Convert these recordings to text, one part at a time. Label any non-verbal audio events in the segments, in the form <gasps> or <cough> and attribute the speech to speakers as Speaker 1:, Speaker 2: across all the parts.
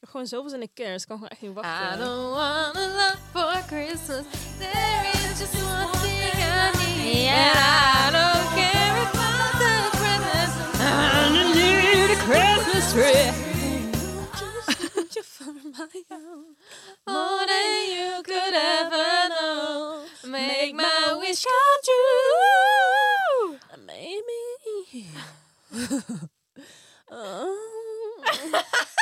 Speaker 1: heb gewoon zoveel zin in kerst. Ik kan gewoon echt niet
Speaker 2: I
Speaker 1: wachten.
Speaker 2: don't want a lot for Christmas. There is just one thing I need. And I don't care if I'm the Christmas. I don't need a Christmas tree. More than you could ever know. Make my wish come true.
Speaker 1: Maybe.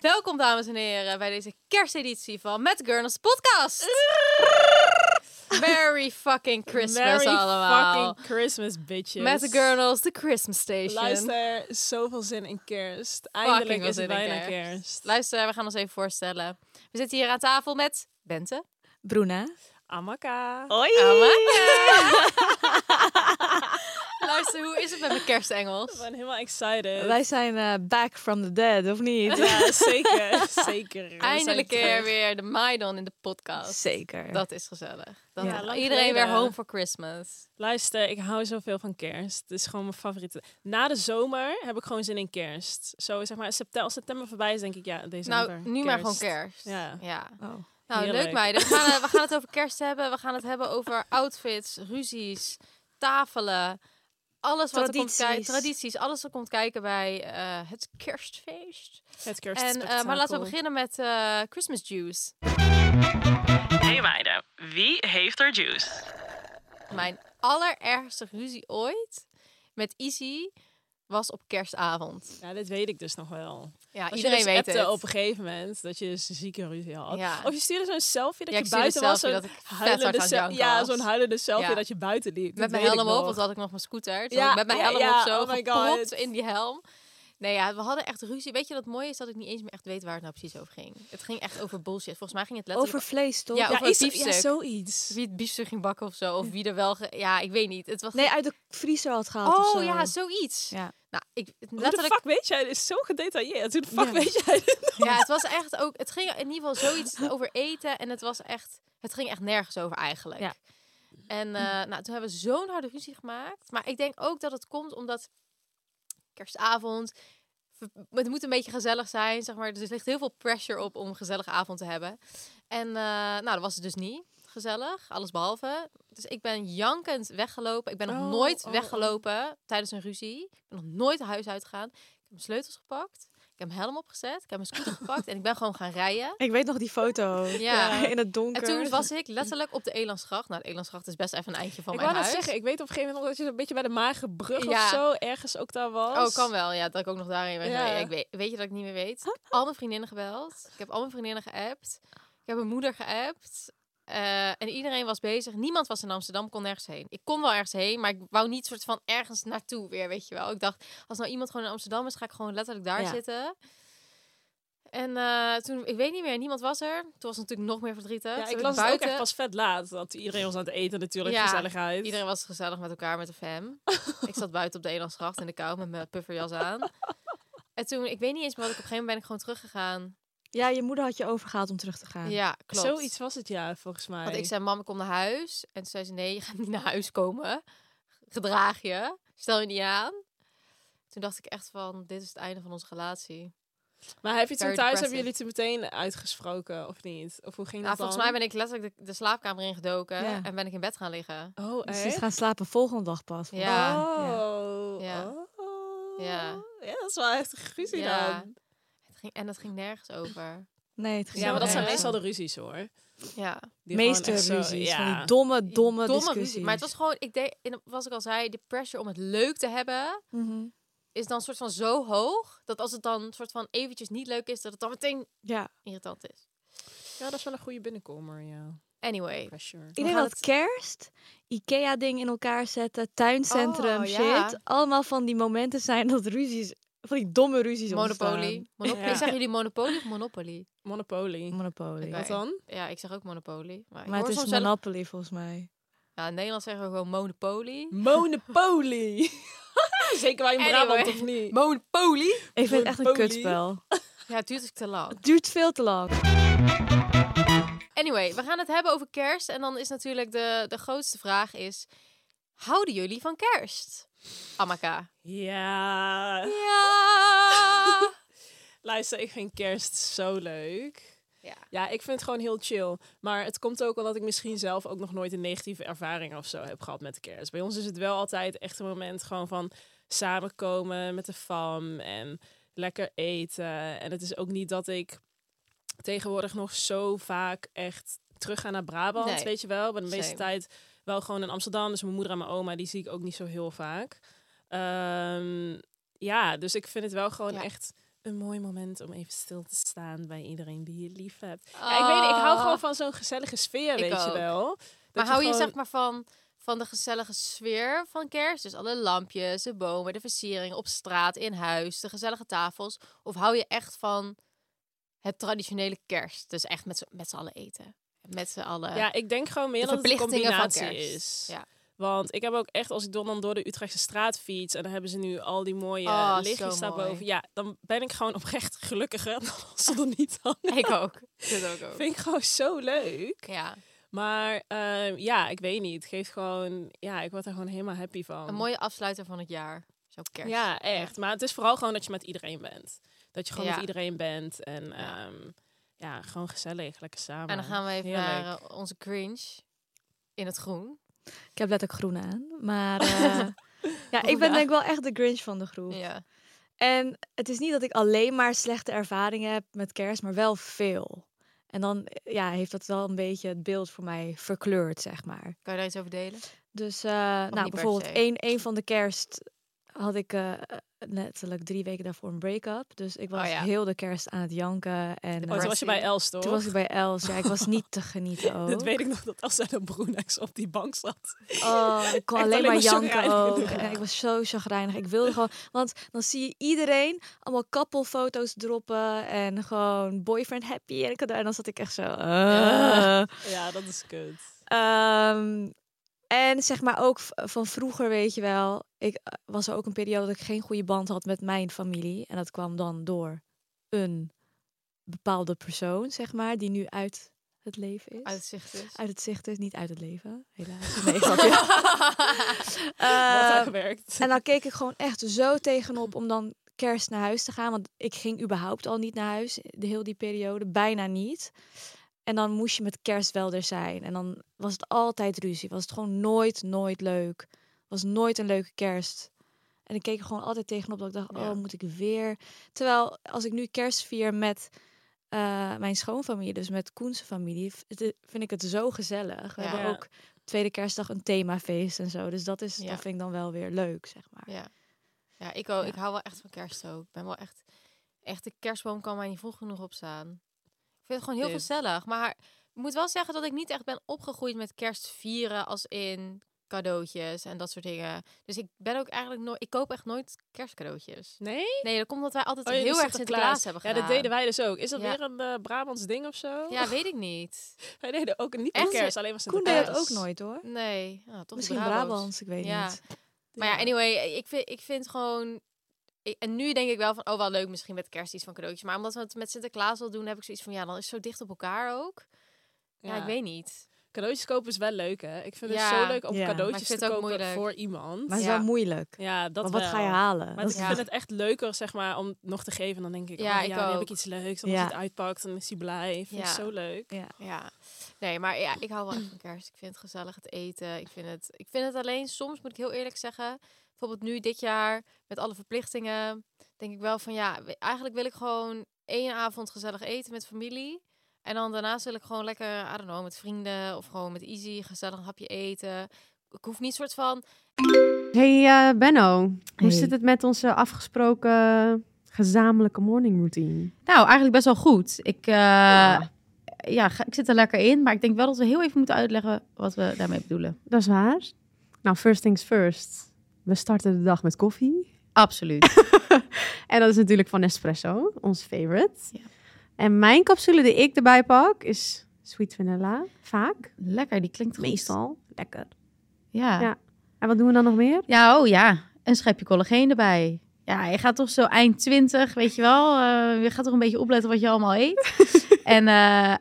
Speaker 2: Welkom dames en heren bij deze kersteditie van Met Gurnels <laughs> Podcast. Merry fucking Christmas
Speaker 1: Merry
Speaker 2: allemaal.
Speaker 1: fucking Christmas, bitches.
Speaker 2: Met de Gurnels, de Christmas Station.
Speaker 1: Luister, zoveel zin in kerst.
Speaker 2: Fucking
Speaker 1: Eindelijk
Speaker 2: veel
Speaker 1: is het
Speaker 2: zin in
Speaker 1: bijna kerst.
Speaker 2: kerst. Luister, we gaan ons even voorstellen. We zitten hier aan tafel met Bente.
Speaker 3: Bruna.
Speaker 1: Amaka.
Speaker 4: Hoi!
Speaker 1: <laughs>
Speaker 2: Luister, hoe is het met mijn
Speaker 1: Ik
Speaker 2: kerstengels?
Speaker 1: ben helemaal excited.
Speaker 3: Wij zijn eh, back from the dead, of niet?
Speaker 1: Ja, zeker. <laughs> zeker. We zijn
Speaker 2: Eindelijk
Speaker 1: terug.
Speaker 2: keer weer de Maidon in de podcast. <laughs>
Speaker 3: Zeker.
Speaker 2: Dat is gezellig. Dan
Speaker 3: Ja,
Speaker 1: lang
Speaker 2: iedereen weer
Speaker 1: geleden.
Speaker 2: home for Christmas.
Speaker 1: Luister, ik hou zoveel van kerst. Het is gewoon mijn favoriete. Na de zomer heb ik gewoon zin in kerst. Zo zeg maar, september, als september voorbij is, denk ik ja, december.
Speaker 2: nou, nu maar gewoon kerst.
Speaker 1: Ja.
Speaker 3: Oh.
Speaker 2: Nou, leuk
Speaker 1: Heerlijk.
Speaker 2: meiden. We gaan, eh, we gaan
Speaker 1: <laughs>
Speaker 2: het over kerst hebben. We gaan het hebben over outfits, ruzies, tafelen. Alles wat er komt kijken.
Speaker 3: Tradities.
Speaker 2: Tradities. Alles wat komt kijken bij eh, het kerstfeest.
Speaker 1: Het kerst.
Speaker 2: En, eh, maar laten we beginnen met eh, Christmas juice.
Speaker 4: Hey meiden, wie heeft er juice?
Speaker 2: Mijn allerergste ruzie ooit met Izzy was op kerstavond.
Speaker 1: Ja, dit weet ik dus nog wel.
Speaker 2: Ja,
Speaker 1: Dat
Speaker 2: iedereen
Speaker 1: je dus
Speaker 2: weet
Speaker 1: appte
Speaker 2: het.
Speaker 1: op een gegeven moment dat je dus zieke ruzie had.
Speaker 2: Ja.
Speaker 1: Of je stuurde zo'n selfie dat
Speaker 2: Ja, ik
Speaker 1: je
Speaker 2: stuurde
Speaker 1: buiten
Speaker 2: een
Speaker 1: was.
Speaker 2: selfie
Speaker 1: Zo'n
Speaker 2: dat ik vet hard
Speaker 1: huilende,
Speaker 2: aan
Speaker 1: se-
Speaker 2: janken
Speaker 1: ja,
Speaker 2: was.
Speaker 1: zo'n huilende selfie
Speaker 2: Ja.
Speaker 1: dat je buiten liep.
Speaker 2: Met
Speaker 1: Dat
Speaker 2: mijn
Speaker 1: weet ik
Speaker 2: helm op,
Speaker 1: nog.
Speaker 2: want toen had ik nog mijn scooter. Toen
Speaker 1: Ja,
Speaker 2: had ik met mijn
Speaker 1: ja,
Speaker 2: helm
Speaker 1: ja,
Speaker 2: op zo
Speaker 1: oh my
Speaker 2: gepropt
Speaker 1: God.
Speaker 2: in die helm. Nee, ja, we hadden echt ruzie. Weet je wat mooi is? Dat ik niet eens meer echt weet waar het nou precies over ging. Het ging echt over bullshit. Volgens mij ging het letterlijk
Speaker 3: Over vlees, toch?
Speaker 2: Ja,
Speaker 1: Ja,
Speaker 2: over
Speaker 1: iets,
Speaker 2: een biefstuk.
Speaker 1: ja, zoiets.
Speaker 2: wie het biefstuk ging bakken of zo. Of wie er wel... ge- Ja, ik weet niet. Het was...
Speaker 3: Nee, uit de vriezer had gehaald of
Speaker 2: oh
Speaker 3: zo.
Speaker 2: ja, zoiets.
Speaker 3: Ja.
Speaker 2: Nou, ik,
Speaker 1: Hoe de
Speaker 2: letterlijk...
Speaker 1: fuck weet jij? Dit is zo gedetailleerd. Hoe de fuck
Speaker 3: Ja.
Speaker 1: weet jij dit?
Speaker 2: Ja, het was echt ook... Het ging in ieder geval zoiets over eten. En het was echt... Het ging echt nergens over eigenlijk.
Speaker 3: Ja.
Speaker 2: En eh,
Speaker 1: Mm.
Speaker 2: nou, toen hebben we zo'n harde ruzie gemaakt. Maar ik denk ook dat het komt omdat kerstavond. we- Het moet een beetje gezellig zijn, zeg maar. Dus er ligt heel veel pressure op om een gezellige avond te hebben. En eh, nou, dat was het dus niet gezellig, alles behalve. Dus ik ben jankend weggelopen. Ik ben nog
Speaker 1: Oh,
Speaker 2: nooit
Speaker 1: oh, oh.
Speaker 2: weggelopen tijdens een ruzie. Ik ben nog nooit huis uitgegaan. Ik heb mijn sleutels gepakt. Ik heb mijn helm opgezet. Ik heb mijn scooter gepakt. En ik ben gewoon gaan rijden.
Speaker 3: Ik weet nog die foto.
Speaker 2: Ja.
Speaker 3: <laughs> In het donker.
Speaker 2: En toen was ik letterlijk op de Elandsgracht. Nou, de Elandsgracht is best even een eindje van
Speaker 1: Ik
Speaker 2: mijn
Speaker 1: wou net
Speaker 2: huis.
Speaker 1: zeggen, ik weet op een gegeven moment nog dat je een beetje bij de Magenbrug
Speaker 2: Ja.
Speaker 1: of zo ergens ook daar was.
Speaker 2: Oh, kan wel. Ja, dat ik ook nog daarin ben.
Speaker 1: Ja.
Speaker 2: geweest. Ik weet, weet je dat ik niet meer weet? Al mijn vriendinnen gebeld. Ik heb al mijn vriendinnen geappt. Ik heb mijn moeder geappt. Eh, en iedereen was bezig. Niemand was in Amsterdam, kon nergens heen. Ik kon wel ergens heen, maar ik wou niet soort van ergens naartoe weer, weet je wel. Ik dacht, als nou iemand gewoon in Amsterdam is, ga ik gewoon letterlijk daar
Speaker 3: Ja.
Speaker 2: zitten. En eh, toen, ik weet niet meer, niemand was er. Toen was het natuurlijk nog meer verdrietig. Toen
Speaker 1: Ja, ik
Speaker 2: ben
Speaker 1: las het ook
Speaker 2: buiten.
Speaker 1: echt pas vet laat. Dat iedereen was aan het eten natuurlijk,
Speaker 2: Ja,
Speaker 1: gezelligheid.
Speaker 2: Iedereen was gezellig met elkaar met de fam. ik zat buiten op de Elandsgracht in de kou met mijn pufferjas aan. En toen, ik weet niet eens meer wat ik op een gegeven moment ben ik gewoon teruggegaan.
Speaker 3: Ja, je moeder had je overgehaald om terug te gaan.
Speaker 2: Ja, klopt.
Speaker 1: Zoiets was het ja, volgens mij.
Speaker 2: Want ik zei, mam, ik kom naar huis. En toen zei ze, nee, je gaat niet naar huis komen. Gedraag je. Stel je niet aan. Toen dacht ik echt van, dit is het einde van onze relatie.
Speaker 1: maar heb je toen
Speaker 2: Very
Speaker 1: thuis, hebben
Speaker 2: depressing.
Speaker 1: jullie toen meteen uitgesproken of niet? Of hoe ging dat
Speaker 2: Nou, volgens mij
Speaker 1: dan?
Speaker 2: ben ik letterlijk de, de slaapkamer ingedoken.
Speaker 3: Ja.
Speaker 2: En ben ik in bed gaan liggen.
Speaker 1: Oh,
Speaker 3: Dus
Speaker 1: echt?
Speaker 3: ze is gaan slapen volgende dag pas.
Speaker 2: Ja.
Speaker 1: Oh.
Speaker 2: Ja.
Speaker 1: oh.
Speaker 2: Ja.
Speaker 1: dat is wel heftig ruzie
Speaker 2: Ja.
Speaker 1: dan.
Speaker 2: Het ging, en dat ging nergens over.
Speaker 3: Nee, het ging
Speaker 1: Ja, maar dat
Speaker 3: nergens
Speaker 1: zijn
Speaker 2: Ja.
Speaker 1: meestal
Speaker 3: om.
Speaker 1: de ruzies hoor.
Speaker 2: Ja.
Speaker 1: Die
Speaker 3: meeste
Speaker 1: gewoon echt zo-
Speaker 3: ruzies.
Speaker 1: ja.
Speaker 3: Van die domme, domme,
Speaker 2: Domme
Speaker 3: discussies.
Speaker 2: ruzie. Maar het was gewoon, ik deed, in- zoals ik al zei, de pressure om het leuk te hebben.
Speaker 3: Mhm.
Speaker 2: is dan soort van zo hoog dat als het dan soort van eventjes niet leuk is, dat het dan meteen
Speaker 3: Ja.
Speaker 2: irritant is.
Speaker 1: ja, dat is wel een goede binnenkomer, ja.
Speaker 2: Anyway.
Speaker 1: Pressure.
Speaker 3: Ik denk
Speaker 2: gaat
Speaker 3: dat kerst, Ikea-ding in elkaar zetten, tuincentrum,
Speaker 2: Oh,
Speaker 3: shit.
Speaker 2: ja.
Speaker 3: Allemaal van die momenten zijn dat ruzies van die domme ruzies
Speaker 2: Monopoly. Monopoly.
Speaker 1: Ja.
Speaker 2: Zeggen jullie Monopoly of Monopoly?
Speaker 1: Monopoly.
Speaker 3: ontstaan. Monopoly.
Speaker 2: Oké.
Speaker 1: Wat <laughs> dan?
Speaker 2: Ja, ik zeg ook Monopoly. Maar, ik
Speaker 3: Maar het
Speaker 2: hoor
Speaker 3: is
Speaker 2: soms wel-
Speaker 3: Monopoly volgens mij.
Speaker 2: Ja, in Nederland zeggen we gewoon Monopoly.
Speaker 1: Monopoly. <laughs> Zeker wij in
Speaker 2: Anyway.
Speaker 1: Brabant, of niet?
Speaker 2: Monopoly?
Speaker 3: Ik vind het echt een
Speaker 1: Monopoly.
Speaker 3: kutspel.
Speaker 2: Ja, het duurt dus te lang.
Speaker 3: Het duurt veel te lang.
Speaker 2: Anyway, we gaan het hebben over kerst. En dan is natuurlijk de, de grootste vraag is... Houden jullie van kerst? Amaka.
Speaker 1: Ja.
Speaker 2: Ja!
Speaker 1: Luister, ik vind kerst zo leuk.
Speaker 2: Ja.
Speaker 1: Ja, ik vind het gewoon heel chill. Maar het komt ook omdat ik misschien zelf ook nog nooit een negatieve ervaring of zo heb gehad met de kerst. Bij ons is het wel altijd echt een moment gewoon van samenkomen met de fam en lekker eten. En het is ook niet dat ik tegenwoordig nog zo vaak echt terug ga naar Brabant,
Speaker 2: Nee.
Speaker 1: weet je wel. Bij de meeste
Speaker 2: Same.
Speaker 1: tijd wel gewoon in Amsterdam. Dus mijn moeder en mijn oma, die zie ik ook niet zo heel vaak. Ehm, ja, dus ik vind het wel gewoon
Speaker 2: Ja.
Speaker 1: echt een mooi moment om even stil te staan bij iedereen die je lief hebt. Ja, ik weet niet, ik hou
Speaker 2: Ah.
Speaker 1: gewoon van zo'n gezellige sfeer,
Speaker 2: Ik
Speaker 1: weet je
Speaker 2: ook.
Speaker 1: wel.
Speaker 2: Maar
Speaker 1: Dat
Speaker 2: hou je
Speaker 1: gewoon-
Speaker 2: zeg maar van, van de gezellige sfeer van kerst? Dus alle lampjes, de bomen, de versiering op straat, in huis, de gezellige tafels. Of hou je echt van het traditionele kerst? Dus echt met z'n- met z'n allen eten. Met z'n allen.
Speaker 1: Ja, ik denk gewoon meer
Speaker 2: de
Speaker 1: dat het een
Speaker 2: verplichtingen van
Speaker 1: combinatie
Speaker 2: kerst.
Speaker 1: is.
Speaker 2: Ja.
Speaker 1: Want ik heb ook echt, als ik dan, dan door de Utrechtse straat fiets... en dan hebben ze nu al die mooie
Speaker 2: Oh,
Speaker 1: lichtjes
Speaker 2: zo
Speaker 1: daarboven.
Speaker 2: mooi.
Speaker 1: Ja, dan ben ik gewoon <laughs> oprecht gelukkiger dan als er niet dan.
Speaker 2: <laughs> Ik ook. Dit ook ook.
Speaker 1: Vind <laughs> ik gewoon zo leuk.
Speaker 2: Ja,
Speaker 1: Maar ehm, ja, ik weet niet. Het geeft gewoon... Ja, ik word er gewoon helemaal happy van.
Speaker 2: een mooie afsluiter van het jaar. Zo kerst.
Speaker 1: Ja, echt. Maar het is vooral gewoon dat je met iedereen bent. Dat je gewoon
Speaker 2: Ja.
Speaker 1: met iedereen bent. En
Speaker 2: Ja.
Speaker 1: ehm, ja, gewoon gezellig, lekker samen.
Speaker 2: En dan gaan we even
Speaker 1: Heerlijk. Oh,
Speaker 2: naar eh, onze cringe in het groen.
Speaker 3: Ik heb letterlijk groen aan. Maar eh, ja, ik ben denk ik wel echt de Grinch van de groep.
Speaker 2: Ja.
Speaker 3: En het is niet dat ik alleen maar slechte ervaringen heb met kerst, maar wel veel. En dan eh, ja, heeft dat wel een beetje het beeld voor mij verkleurd, zeg maar.
Speaker 2: Kan je daar iets over delen?
Speaker 3: Dus eh, nou,
Speaker 2: niet per
Speaker 3: bijvoorbeeld
Speaker 2: se.
Speaker 3: één, één van de kerst had ik eh, letterlijk drie weken daarvoor een break-up. Dus ik was
Speaker 2: Oh ja.
Speaker 3: heel de kerst aan het janken. En
Speaker 1: Oh, toen was je bij Els, toch?
Speaker 3: toen was ik bij Els. Ja, ik was niet
Speaker 1: <laughs>
Speaker 3: te genieten ook.
Speaker 1: Dat weet ik nog, dat Els en een Broenex op die bank zat.
Speaker 3: Oh, ik kon
Speaker 1: Echt
Speaker 3: alleen
Speaker 1: alleen
Speaker 3: maar
Speaker 1: maar
Speaker 3: janken
Speaker 1: chagrijnig.
Speaker 3: ook. En ik was zo chagrijnig. Ik wilde gewoon... Want dan zie je iedereen allemaal koppelfoto's droppen. En gewoon boyfriend happy. En, cadeau. en dan zat ik echt zo... eh.
Speaker 1: Ja, dat is kut.
Speaker 3: Ehm, en zeg maar ook v- van vroeger, weet je wel. Ik eh, was er ook een periode dat ik geen goede band had met mijn familie. En dat kwam dan door een bepaalde persoon, zeg maar, die nu uit het leven is.
Speaker 2: Uitzicht
Speaker 1: <laughs>
Speaker 2: dus.
Speaker 3: Uit het zicht is, niet uit het leven, helaas. Nee, grapje.
Speaker 1: Wordt
Speaker 3: Ehm,
Speaker 1: aangewerkt.
Speaker 3: en dan keek ik gewoon echt zo tegenop om dan kerst naar huis te gaan. Want ik ging überhaupt al niet naar huis, de heel die periode. Bijna niet. En dan moest je met kerst wel er zijn. En dan was het altijd ruzie. Was het gewoon nooit, nooit leuk. Was nooit een leuke kerst. En ik keek er gewoon altijd tegenop dat ik dacht,
Speaker 2: Ja.
Speaker 3: oh, moet ik weer? Terwijl als ik nu kerst vier met eh, mijn schoonfamilie, dus met Koense familie, v- het- vind ik het zo gezellig. We
Speaker 2: Ja.
Speaker 3: hebben
Speaker 1: Ja.
Speaker 3: ook tweede kerstdag een themafeest en zo. Dus dat, is,
Speaker 2: Ja.
Speaker 3: dat vind ik dan wel weer leuk, zeg maar.
Speaker 2: Ja, ja, ik, ook,
Speaker 3: Ja.
Speaker 2: ik hou wel echt van kerst ook. Ik ben wel echt... Echt, de kerstboom kan mij niet vroeg genoeg opstaan. Ik vind het gewoon heel
Speaker 1: Dit.
Speaker 2: gezellig. Maar ik moet wel zeggen dat ik niet echt ben opgegroeid met kerst vieren als in cadeautjes en dat soort dingen. Dus ik ben ook eigenlijk nooit... Ik koop echt nooit kerstcadeautjes.
Speaker 1: Nee?
Speaker 2: Nee, dat komt omdat wij altijd
Speaker 1: Oh, jullie
Speaker 2: heel erg
Speaker 1: Sinterklaas.
Speaker 2: Sinterklaas hebben
Speaker 1: Ja,
Speaker 2: gedaan.
Speaker 1: dat deden wij dus ook. Is dat
Speaker 2: Ja.
Speaker 1: weer een eh, Brabants ding of zo?
Speaker 2: Ja, weet ik niet.
Speaker 1: <laughs> Wij deden ook niet
Speaker 2: Echt?
Speaker 1: echt kerst, alleen was
Speaker 3: Koen
Speaker 1: Sinterklaas.
Speaker 3: deed dat ook nooit hoor.
Speaker 2: Nee. Ja, toch
Speaker 3: Misschien
Speaker 2: Brabants.
Speaker 3: Brabants, ik weet
Speaker 2: Ja.
Speaker 3: niet.
Speaker 2: Maar ja, anyway, ik vind, ik vind gewoon... ik- en nu denk ik wel van, oh wel leuk misschien met kerst iets van cadeautjes. Maar omdat we het met Sinterklaas al doen, heb ik zoiets van, ja, dan is het zo dicht op elkaar ook. Ja, ik weet niet.
Speaker 1: Cadeautjes kopen is wel leuk, hè? Ik vind het
Speaker 2: Ja.
Speaker 1: zo leuk om
Speaker 3: Ja.
Speaker 2: Maar
Speaker 1: cadeautjes
Speaker 2: ik
Speaker 1: te
Speaker 2: vind het ook
Speaker 1: kopen
Speaker 2: moeilijk.
Speaker 1: voor iemand.
Speaker 3: Maar het is
Speaker 2: Ja.
Speaker 3: wel moeilijk.
Speaker 1: ja, dat
Speaker 3: Want wat
Speaker 1: wel.
Speaker 3: ga je halen?
Speaker 1: Maar
Speaker 3: Dat
Speaker 1: ik
Speaker 3: is-
Speaker 2: ja.
Speaker 1: vind het echt leuker, zeg maar, om nog te geven. Dan denk ik,
Speaker 2: Ja,
Speaker 1: ja, oh,
Speaker 2: ik
Speaker 1: ja dan heb
Speaker 2: ook.
Speaker 1: ik iets leuks. Dan
Speaker 3: Ja.
Speaker 1: als je het uitpakt, dan is hij blij. Vind ik
Speaker 2: Ja.
Speaker 1: zo leuk.
Speaker 2: Ja. Nee, maar ja, ik hou wel echt van kerst. Ik vind het gezellig, het eten. Ik vind het, ik vind het alleen, soms moet ik heel eerlijk zeggen... Bijvoorbeeld nu, dit jaar, met alle verplichtingen... Denk ik wel van, ja, we- eigenlijk wil ik gewoon één avond gezellig eten met familie. En dan daarnaast wil ik gewoon lekker, I don't know, met vrienden... Of gewoon met Easy, gezellig een hapje eten... Ik hoef niet soort van
Speaker 5: Hey eh, Benno, hoe
Speaker 3: Hey.
Speaker 5: zit het met onze afgesproken gezamenlijke morning routine?
Speaker 6: Nou, eigenlijk best wel goed. Ik, eh, ja. ga- ik zit er lekker in, maar ik denk wel dat we heel even moeten uitleggen wat we daarmee bedoelen.
Speaker 5: Dat is waar. Nou, first things first. We starten de dag met koffie.
Speaker 6: Absoluut.
Speaker 5: En dat is natuurlijk van Nespresso, ons favorite. En mijn capsule die ik erbij pak is sweet vanilla, vaak.
Speaker 6: Lekker, die klinkt goed.
Speaker 5: Meestal. Lekker.
Speaker 6: Ja.
Speaker 5: Ja.
Speaker 6: ja.
Speaker 5: En wat doen we dan nog meer?
Speaker 6: oh ja. Een schepje collageen erbij. Ja, je gaat toch zo eind 20, weet je wel. eh, je gaat toch een beetje opletten wat je allemaal eet. en eh,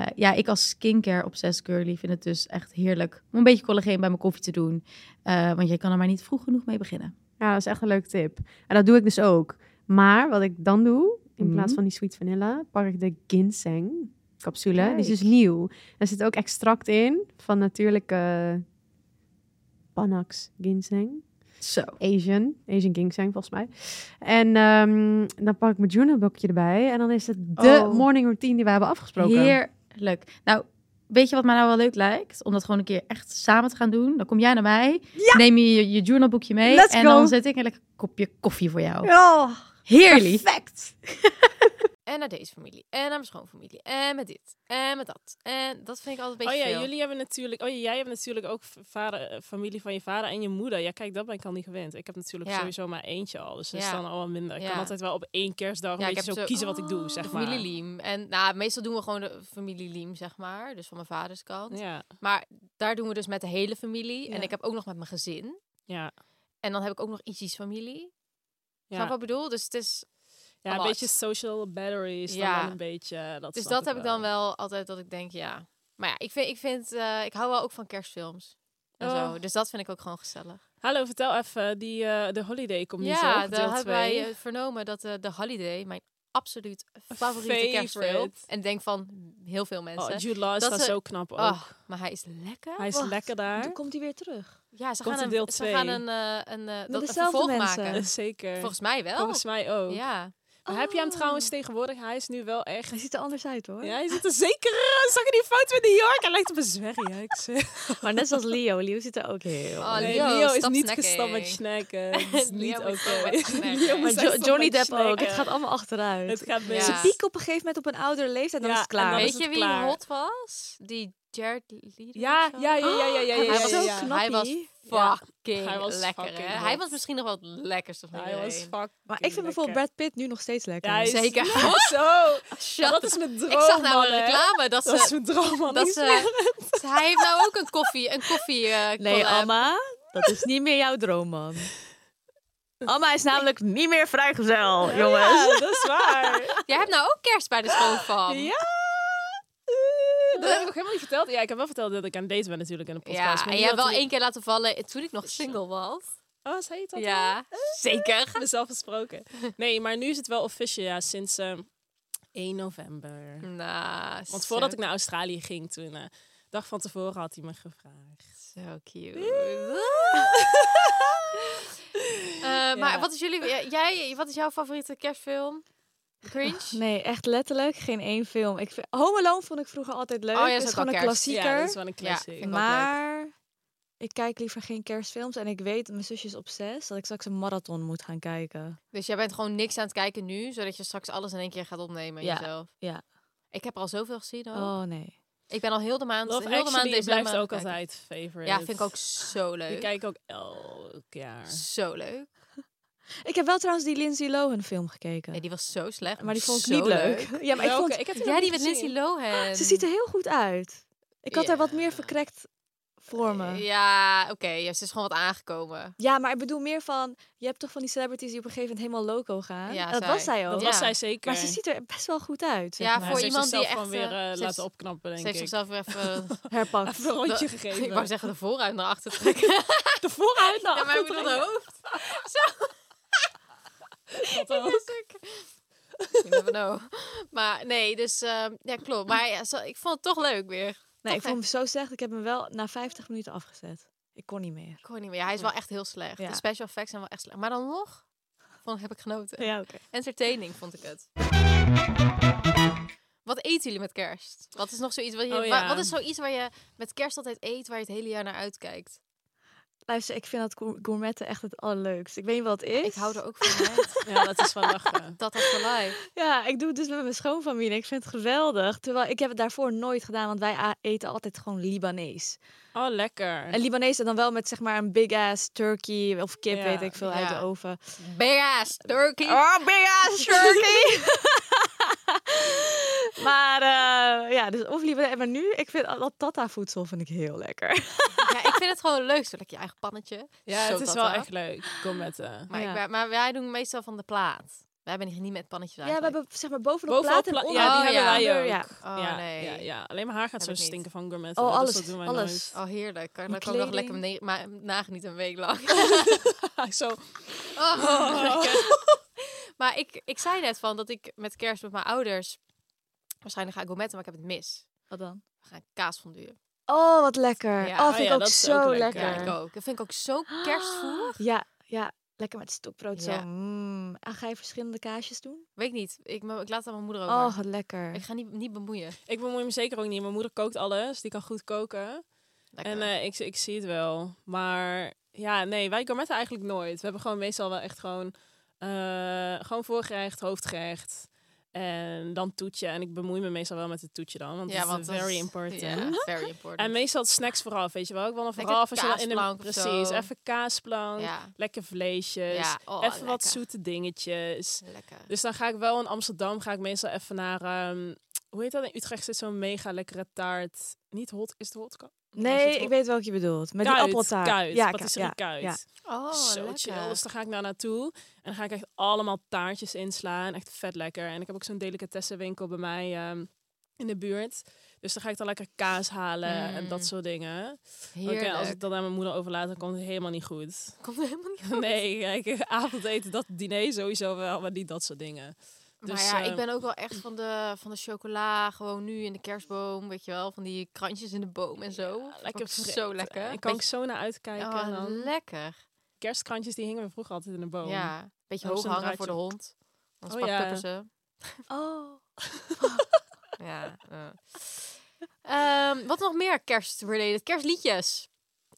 Speaker 6: eh, ja, ik als skincare obsessed girly vind het dus echt heerlijk om een beetje collageen bij mijn koffie te doen. Eh, want je kan er maar niet vroeg genoeg mee beginnen.
Speaker 5: Ja, dat is echt een leuke tip. En dat doe ik dus ook. Maar wat ik dan doe, in
Speaker 6: Mhm.
Speaker 5: plaats van die sweet vanilla, pak ik de ginseng capsule. Die is dus
Speaker 6: Kijk.
Speaker 5: nieuw. Daar zit ook extract in van natuurlijke Panax ginseng.
Speaker 6: Zo.
Speaker 5: Asian. Asian ginseng volgens mij. En ehm, dan pak ik mijn journalboekje erbij. En dan is het de
Speaker 6: Oh.
Speaker 5: morning routine die we hebben afgesproken.
Speaker 6: Heerlijk. Nou, weet je wat mij nou wel leuk lijkt? Om dat gewoon een keer echt samen te gaan doen. Dan kom jij naar mij, neem je je, je journalboekje mee
Speaker 5: Let's
Speaker 6: en
Speaker 5: go.
Speaker 6: dan zet ik een lekker kopje koffie voor jou.
Speaker 5: Oh,
Speaker 6: Heerlijk.
Speaker 5: perfect.
Speaker 2: <laughs> En naar deze familie. En naar mijn schoonfamilie. En met dit. En met dat. En dat vind ik altijd een
Speaker 1: Oh
Speaker 2: beetje
Speaker 1: ja,
Speaker 2: veel.
Speaker 1: jullie hebben natuurlijk. Oh ja, jij hebt natuurlijk ook v- vader, eh, familie van je vader en je moeder. Ja, kijk, dat ben ik al niet gewend. Ik heb natuurlijk
Speaker 2: Ja.
Speaker 1: sowieso maar eentje al. Dus dat is
Speaker 2: Ja.
Speaker 1: dan al wat minder. Ik
Speaker 2: Ja.
Speaker 1: kan altijd wel op één kerstdag
Speaker 2: Ja,
Speaker 1: een
Speaker 2: ik
Speaker 1: beetje zo,
Speaker 2: heb zo- Oh,
Speaker 1: kiezen wat ik doe,
Speaker 2: De
Speaker 1: zeg maar.
Speaker 2: familie Liem. En nou, meestal doen we gewoon de familie Liem, zeg maar. Dus van mijn vaders kant.
Speaker 1: Ja,
Speaker 2: Maar daar doen we dus met de hele familie.
Speaker 1: Ja.
Speaker 2: En ik heb ook nog met mijn gezin.
Speaker 1: ja.
Speaker 2: En dan heb ik ook nog Izzy's familie.
Speaker 1: Ja,
Speaker 2: Snap je wat ik bedoel? Dus het is...
Speaker 1: ja een
Speaker 2: Wat?
Speaker 1: beetje social battery is dan
Speaker 2: Oh, Ja.
Speaker 1: wel een beetje. Dat
Speaker 2: dus
Speaker 1: snap
Speaker 2: dat heb ik dan wel altijd dat ik denk, ja. Maar ja, ik vind... Ik, vind, eh, ik hou wel ook van kerstfilms. En
Speaker 1: Oh.
Speaker 2: zo. Dus dat vind ik ook gewoon gezellig.
Speaker 1: Hallo, vertel even. Die, eh, de holiday komt niet
Speaker 2: ja,
Speaker 1: op.
Speaker 2: daar
Speaker 1: deel
Speaker 2: hebben
Speaker 1: twee.
Speaker 2: wij eh, vernomen dat eh, de Holiday... mijn absoluut favoriete
Speaker 1: Favorite.
Speaker 2: kerstfilm... en ik denk van heel veel
Speaker 1: Oh,
Speaker 2: mensen...
Speaker 1: Jude Law
Speaker 2: eh, dat
Speaker 1: staat
Speaker 2: ze-
Speaker 1: zo knap ook.
Speaker 2: Oh, maar hij is lekker.
Speaker 1: Hij is
Speaker 3: wacht.
Speaker 1: lekker daar.
Speaker 3: Toen komt hij weer terug.
Speaker 2: Ja, ze
Speaker 1: Komt
Speaker 2: gaan
Speaker 1: een deel
Speaker 2: een, ze
Speaker 1: twee.
Speaker 2: gaan een, eh, een, eh, dat, een
Speaker 3: dezelfde
Speaker 2: vervolg
Speaker 3: mensen.
Speaker 1: Eh,
Speaker 2: maken.
Speaker 1: <laughs> Zeker.
Speaker 2: Volgens mij wel.
Speaker 1: Volgens mij ook.
Speaker 2: Ja.
Speaker 1: Maar heb je hem
Speaker 3: Oh.
Speaker 1: trouwens tegenwoordig? Hij is nu wel echt
Speaker 3: Hij ziet er anders uit hoor.
Speaker 1: Ja, hij ziet er zeker. eh, <laughs> Zag je die foto in New York? Hij lijkt op een zwerrie. hè, ik zeg.
Speaker 3: Maar net zoals Leo. Leo ziet er ook heel.
Speaker 2: Oh,
Speaker 1: Nee,
Speaker 2: Leo,
Speaker 1: is
Speaker 2: stop
Speaker 1: niet
Speaker 2: snacking.
Speaker 1: gestapt met
Speaker 2: <laughs>
Speaker 1: snacken. Dat is niet
Speaker 2: Leo
Speaker 1: oké.
Speaker 2: is wel met
Speaker 1: <laughs>
Speaker 2: snacken.
Speaker 1: Leo
Speaker 2: Maar
Speaker 1: is
Speaker 3: Jo-
Speaker 1: echt stop
Speaker 3: Johnny
Speaker 1: met
Speaker 3: Depp ook.
Speaker 1: snacken.
Speaker 3: Het gaat allemaal achteruit.
Speaker 1: Het gaat mis.
Speaker 2: Ja.
Speaker 3: Ze pieken op een gegeven moment op een oudere leeftijd. Dan
Speaker 1: Ja,
Speaker 3: is het
Speaker 1: en dan
Speaker 3: klaar.
Speaker 1: is
Speaker 2: Weet
Speaker 1: het
Speaker 2: je wie
Speaker 1: klaar.
Speaker 2: hot was? Die Jared Leto.
Speaker 1: Ja,
Speaker 2: of zo?
Speaker 1: ja, ja, ja, ja, ja,
Speaker 3: Hij
Speaker 1: ja,
Speaker 2: was
Speaker 1: ja,
Speaker 2: zo
Speaker 1: ja.
Speaker 2: <gasps>
Speaker 3: knap.
Speaker 2: Hij was
Speaker 3: Knappie.
Speaker 1: Ja.
Speaker 2: fucking
Speaker 1: Hij was
Speaker 2: lekker.
Speaker 1: fucking
Speaker 2: hè?
Speaker 1: hot.
Speaker 2: Hij was misschien nog wel het lekkerste van
Speaker 1: Hij was
Speaker 2: iedereen.
Speaker 1: fucking
Speaker 3: Maar ik vind bijvoorbeeld
Speaker 1: lekker.
Speaker 3: Brad Pitt nu nog steeds lekker.
Speaker 1: Ja, hij is
Speaker 2: Zeker.
Speaker 1: <laughs>
Speaker 2: <laughs>
Speaker 1: Zo.
Speaker 2: Shut
Speaker 1: Maar dat
Speaker 2: the-
Speaker 1: is mijn droom.
Speaker 2: Ik zag nou
Speaker 1: man,
Speaker 2: een
Speaker 1: hè.
Speaker 2: reclame dat
Speaker 1: Dat is
Speaker 2: ze...
Speaker 1: mijn droom, man.
Speaker 2: Dat eh,
Speaker 1: Ik
Speaker 2: ze, hij heeft nou ook een koffie, een koffie eh
Speaker 3: Nee,
Speaker 2: collab.
Speaker 3: Amma, dat is niet meer jouw droom, man. Amma is namelijk niet meer vrijgezel, jongens.
Speaker 1: <laughs> Ja, dat is waar.
Speaker 2: Jij hebt nou ook kerst bij de schoonfam.
Speaker 1: ja. Dat heb ik ook helemaal niet verteld. Ja, ik heb wel verteld dat ik aan het daten ben natuurlijk in de podcast.
Speaker 2: Eh. Ja,
Speaker 1: maar
Speaker 2: en
Speaker 1: niet
Speaker 2: jij hebt
Speaker 1: dat
Speaker 2: wel
Speaker 1: ik-
Speaker 2: één keer laten vallen toen ik nog single was.
Speaker 1: Oh, zei je dat al?
Speaker 2: Ja, zeker.
Speaker 1: <laughs> mezelf gesproken. Nee, maar nu is het wel officieel, ja, sinds eh, 1 november.
Speaker 2: Nou,
Speaker 1: Want voordat
Speaker 2: zo-
Speaker 1: ik naar Australië ging, toen eh dag van tevoren had hij me gevraagd.
Speaker 2: Zo cute. Eh, Maar
Speaker 1: Ja.
Speaker 2: wat is jullie, eh, jij, wat is jouw favoriete kerstfilm? Cringe?
Speaker 3: Nee, echt letterlijk geen één film. Ik vind, Home Alone vond ik vroeger altijd leuk.
Speaker 2: Oh ja,
Speaker 3: dat
Speaker 2: is
Speaker 3: is
Speaker 2: ook
Speaker 3: gewoon
Speaker 2: wel
Speaker 3: een
Speaker 2: kerst.
Speaker 3: klassieker.
Speaker 1: Ja, dat is wel een classic.
Speaker 2: vind ik wel
Speaker 3: maar ik kijk liever geen kerstfilms. En ik weet, mijn zusje is obsessief, dat ik straks een marathon moet gaan kijken.
Speaker 2: Dus jij bent gewoon niks aan het kijken nu, zodat je straks alles in één keer gaat opnemen
Speaker 3: Ja,
Speaker 2: jezelf.
Speaker 3: ja.
Speaker 2: Ik heb er al zoveel gezien ook.
Speaker 3: Oh nee.
Speaker 2: Ik ben al heel de maand,
Speaker 1: Love
Speaker 2: heel de maand
Speaker 1: Actually
Speaker 2: december
Speaker 1: blijft
Speaker 2: aan
Speaker 1: ook
Speaker 2: het kijken.
Speaker 1: altijd favorite.
Speaker 2: Ja, vind ik ook zo leuk.
Speaker 1: Ik kijk ook elk jaar.
Speaker 2: Zo leuk.
Speaker 3: Ik heb wel trouwens die Lindsay Lohan film gekeken.
Speaker 2: Nee, die was zo slecht.
Speaker 3: maar die vond ik
Speaker 2: zo
Speaker 3: niet leuk. Ja, maar ik
Speaker 1: Welke?
Speaker 3: vond,
Speaker 1: heb
Speaker 2: Ja,
Speaker 1: nog
Speaker 2: die
Speaker 1: niet
Speaker 2: met Lindsay
Speaker 1: gezien.
Speaker 2: Lohan.
Speaker 3: ze ziet er heel goed uit. Ik had haar wat meer verkrekt voor me.
Speaker 2: Ja, oké. ja, ze is gewoon wat aangekomen.
Speaker 3: Ja, maar ik bedoel meer van, je hebt toch van die celebrities die op een gegeven moment helemaal loco gaan.
Speaker 2: Ja,
Speaker 3: En dat
Speaker 2: zij.
Speaker 3: was zij ook.
Speaker 1: Dat
Speaker 2: Ja.
Speaker 1: was zij zeker.
Speaker 3: Maar ze ziet er best wel goed uit. zeg
Speaker 2: Ja,
Speaker 3: maar.
Speaker 1: Maar
Speaker 2: voor
Speaker 1: ze heeft
Speaker 2: iemand die
Speaker 1: zichzelf
Speaker 2: echt,
Speaker 1: gewoon weer
Speaker 2: eh,
Speaker 1: eh,
Speaker 2: ze heeft-
Speaker 1: laten opknappen, denk
Speaker 2: ze heeft
Speaker 1: ik.
Speaker 2: zichzelf weer
Speaker 3: <laughs>
Speaker 2: even...
Speaker 3: herpakt.
Speaker 1: Even een rondje
Speaker 2: de-
Speaker 1: gegeven.
Speaker 2: <laughs> Ik wou zeggen de vooruit naar
Speaker 3: <laughs>
Speaker 2: achter trekken.
Speaker 1: de vooruit naar
Speaker 2: Ja, maar ik bedoel
Speaker 1: achteren.
Speaker 2: de <laughs> hoofd.
Speaker 3: <laughs>
Speaker 2: <laughs>
Speaker 1: Dat ook.
Speaker 2: You never know. Maar nee, dus ehm, ja, klopt. Maar ja, zo- ik vond het toch leuk weer.
Speaker 3: Nee, ik
Speaker 2: Toch <laughs>
Speaker 3: vond hem zo slecht. Ik heb hem wel na 50 minuten afgezet. Ik kon niet meer.
Speaker 2: Ik hoor niet meer. Ja, hij is wel echt heel slecht.
Speaker 3: Ja.
Speaker 2: De special effects zijn wel echt slecht. Maar dan nog, vond, heb ik genoten.
Speaker 3: Ja, oké.
Speaker 2: Entertaining vond ik het. Wat eten jullie met kerst? Wat is nog zoiets wat je,
Speaker 1: Oh,
Speaker 2: wa-
Speaker 1: ja.
Speaker 2: wat is zoiets waar je met kerst altijd eet, waar je het hele jaar naar uitkijkt?
Speaker 3: Luister, ik vind dat gour- gourmetten echt het allerleukst. Ik weet niet wat het is.
Speaker 2: Ik hou er ook van,
Speaker 1: <laughs>
Speaker 2: meid.
Speaker 1: Ja, dat is van lachen.
Speaker 2: Dat is for life.
Speaker 3: Ja, ik doe het dus met mijn schoonfamilie. Ik vind het geweldig. Terwijl ik heb het daarvoor nooit gedaan, want wij a- eten altijd gewoon Libanees.
Speaker 1: Oh, lekker.
Speaker 3: En Libanees en dan wel met zeg maar een big ass turkey of kip,
Speaker 1: Ja,
Speaker 3: weet ik veel, uit de
Speaker 2: ja.
Speaker 3: oven.
Speaker 2: Big ass turkey.
Speaker 3: Oh, big ass turkey! <laughs> maar eh, ja, dus of Libanees. Maar nu, ik vind al dat tata voedsel vind ik heel lekker.
Speaker 2: Ja, ik vind het gewoon leuk. Zo lekker je eigen pannetje.
Speaker 1: Ja,
Speaker 2: Zo
Speaker 1: het is
Speaker 2: dat
Speaker 1: wel
Speaker 2: ook.
Speaker 1: echt leuk. Kom met. eh,
Speaker 2: Maar,
Speaker 3: Ja.
Speaker 2: ik, ben- maar wij doen meestal van de plaat. Wij hebben niet met pannetjes
Speaker 3: Ja, we
Speaker 2: eigenlijk.
Speaker 3: hebben zeg maar bovenop,
Speaker 1: Bovenop
Speaker 3: plaat en
Speaker 1: pla-
Speaker 3: onder.
Speaker 1: ja, die
Speaker 2: Oh,
Speaker 1: hebben
Speaker 2: ja.
Speaker 1: wij ook.
Speaker 3: Ja.
Speaker 2: Oh,
Speaker 1: ja,
Speaker 2: nee.
Speaker 1: ja, ja, alleen mijn haar gaat
Speaker 2: Heb
Speaker 1: zo
Speaker 2: ik niet.
Speaker 1: stinken van gourmet.
Speaker 3: Oh,
Speaker 1: dus
Speaker 3: alles.
Speaker 1: dat doen wij
Speaker 3: alles.
Speaker 2: Oh, heerlijk. Kan,
Speaker 3: Mijn
Speaker 2: dan kan ik nog
Speaker 3: kleding.
Speaker 2: lekker ne- maar nagenieten een week lang.
Speaker 1: nooit. <laughs> zo.
Speaker 2: Oh. <laughs> maar ik, ik zei net van dat ik met kerst met mijn ouders... Waarschijnlijk ga ik gourmetten, maar ik heb het mis.
Speaker 3: Wat dan?
Speaker 2: We gaan kaas fonduren.
Speaker 3: Oh, wat lekker.
Speaker 2: Ja.
Speaker 3: Oh,
Speaker 1: Oh
Speaker 3: vind ik
Speaker 1: ja,
Speaker 3: ook
Speaker 1: dat is
Speaker 3: zo
Speaker 1: ook lekker.
Speaker 3: lekker.
Speaker 2: Ja, ik ook. Dat vind ik ook
Speaker 1: <gasps>
Speaker 2: zo kerstvoer.
Speaker 3: Ja, ja. Lekker met stokbrood
Speaker 2: Ja.
Speaker 3: zo. Mm. En ga je verschillende kaasjes doen?
Speaker 2: Weet ik niet. Ik, maar ik laat het aan mijn moeder over.
Speaker 3: Oh, wat lekker.
Speaker 2: Ik ga niet, niet bemoeien.
Speaker 1: Ik bemoei me zeker ook niet. Mijn moeder kookt alles. Die kan goed koken.
Speaker 2: Lekker.
Speaker 1: En eh, ik, ik zie het wel. Maar ja, nee, wij gourmetten eigenlijk nooit. We hebben gewoon meestal wel echt gewoon, eh, gewoon voorgerecht, hoofdgerecht. En dan toetje. En ik bemoei me meestal wel met het toetje dan. Want dat is eh,
Speaker 2: dat
Speaker 1: very
Speaker 2: is-
Speaker 1: important. <laughs>
Speaker 2: Ja, very important.
Speaker 1: En meestal snacks vooraf, weet je wel. Ik wil dan
Speaker 2: Lekker
Speaker 1: vooral als je dan in de...
Speaker 2: kaasplank of zo.
Speaker 1: Precies, even kaasplank.
Speaker 2: ja,
Speaker 1: Lekker vleesjes.
Speaker 2: ja. Oh,
Speaker 1: even
Speaker 2: lekker.
Speaker 1: wat zoete dingetjes.
Speaker 2: Lekker.
Speaker 1: Dus dan ga ik wel in Amsterdam, ga ik meestal even naar, ehm, hoe heet dat in Utrecht? Zit zo'n mega lekkere taart. Niet hot, is het hot? Ka- is
Speaker 3: Nee,
Speaker 1: het
Speaker 3: ik
Speaker 1: hot?
Speaker 3: weet welke je bedoelt. Met
Speaker 1: Kuit,
Speaker 3: die appeltaart.
Speaker 1: Kuit,
Speaker 3: ja,
Speaker 1: patisserie
Speaker 3: ja,
Speaker 1: kuit.
Speaker 3: ja.
Speaker 2: Oh,
Speaker 1: Zo
Speaker 2: lekker.
Speaker 1: chill. Dus dan ga ik daar naartoe en dan ga ik echt allemaal taartjes inslaan. Echt vet lekker. En ik heb ook zo'n delicatessenwinkel bij mij ehm, in de buurt. Dus dan ga ik dan lekker kaas halen en dat
Speaker 2: Mm.
Speaker 1: soort dingen. Oké,
Speaker 2: Heerlijk.
Speaker 1: als ik dat aan mijn moeder overlaat, dan komt het helemaal niet
Speaker 2: <laughs>
Speaker 1: goed. <laughs>
Speaker 2: Komt helemaal niet goed.
Speaker 1: Nee, kijk, avondeten, dat diner sowieso wel, maar niet dat soort dingen.
Speaker 2: maar
Speaker 1: dus,
Speaker 2: ja,
Speaker 1: eh,
Speaker 2: ik ben ook wel echt van de, van de chocola. Gewoon nu in de kerstboom, weet je wel. Van die krantjes in de boom en zo. Vind ik
Speaker 1: Lekker
Speaker 2: ook
Speaker 1: frit.
Speaker 2: Zo lekker.
Speaker 1: Ik kan ik
Speaker 2: Beetje-
Speaker 1: zo naar uitkijken.
Speaker 2: oh,
Speaker 1: en dan.
Speaker 2: lekker.
Speaker 1: kerstkrantjes die hingen we vroeger altijd in de boom.
Speaker 2: Ja, beetje
Speaker 1: Ook
Speaker 2: hoog
Speaker 1: zo'n
Speaker 2: hangen voor de
Speaker 1: draadje.
Speaker 2: hond. Anders
Speaker 1: Oh,
Speaker 2: pak
Speaker 1: ja.
Speaker 2: puppen ze.
Speaker 3: Oh.
Speaker 2: Ja. eh. Ehm, wat nog meer kerst-related? Kerstliedjes.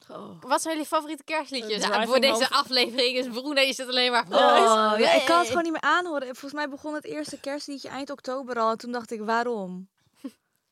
Speaker 3: Oh.
Speaker 2: Wat zijn jullie favoriete
Speaker 1: Eh,
Speaker 2: kerstliedjes? Ja,
Speaker 1: Driving
Speaker 2: voor deze
Speaker 1: Home.
Speaker 2: aflevering is Broene is het alleen maar voor
Speaker 3: Oh,
Speaker 2: ons.
Speaker 3: ja, ik kan het
Speaker 2: Nee.
Speaker 3: gewoon niet meer aanhoren. Volgens mij begon het eerste kerstliedje eind oktober al. En toen dacht ik,
Speaker 2: <laughs>
Speaker 3: waarom?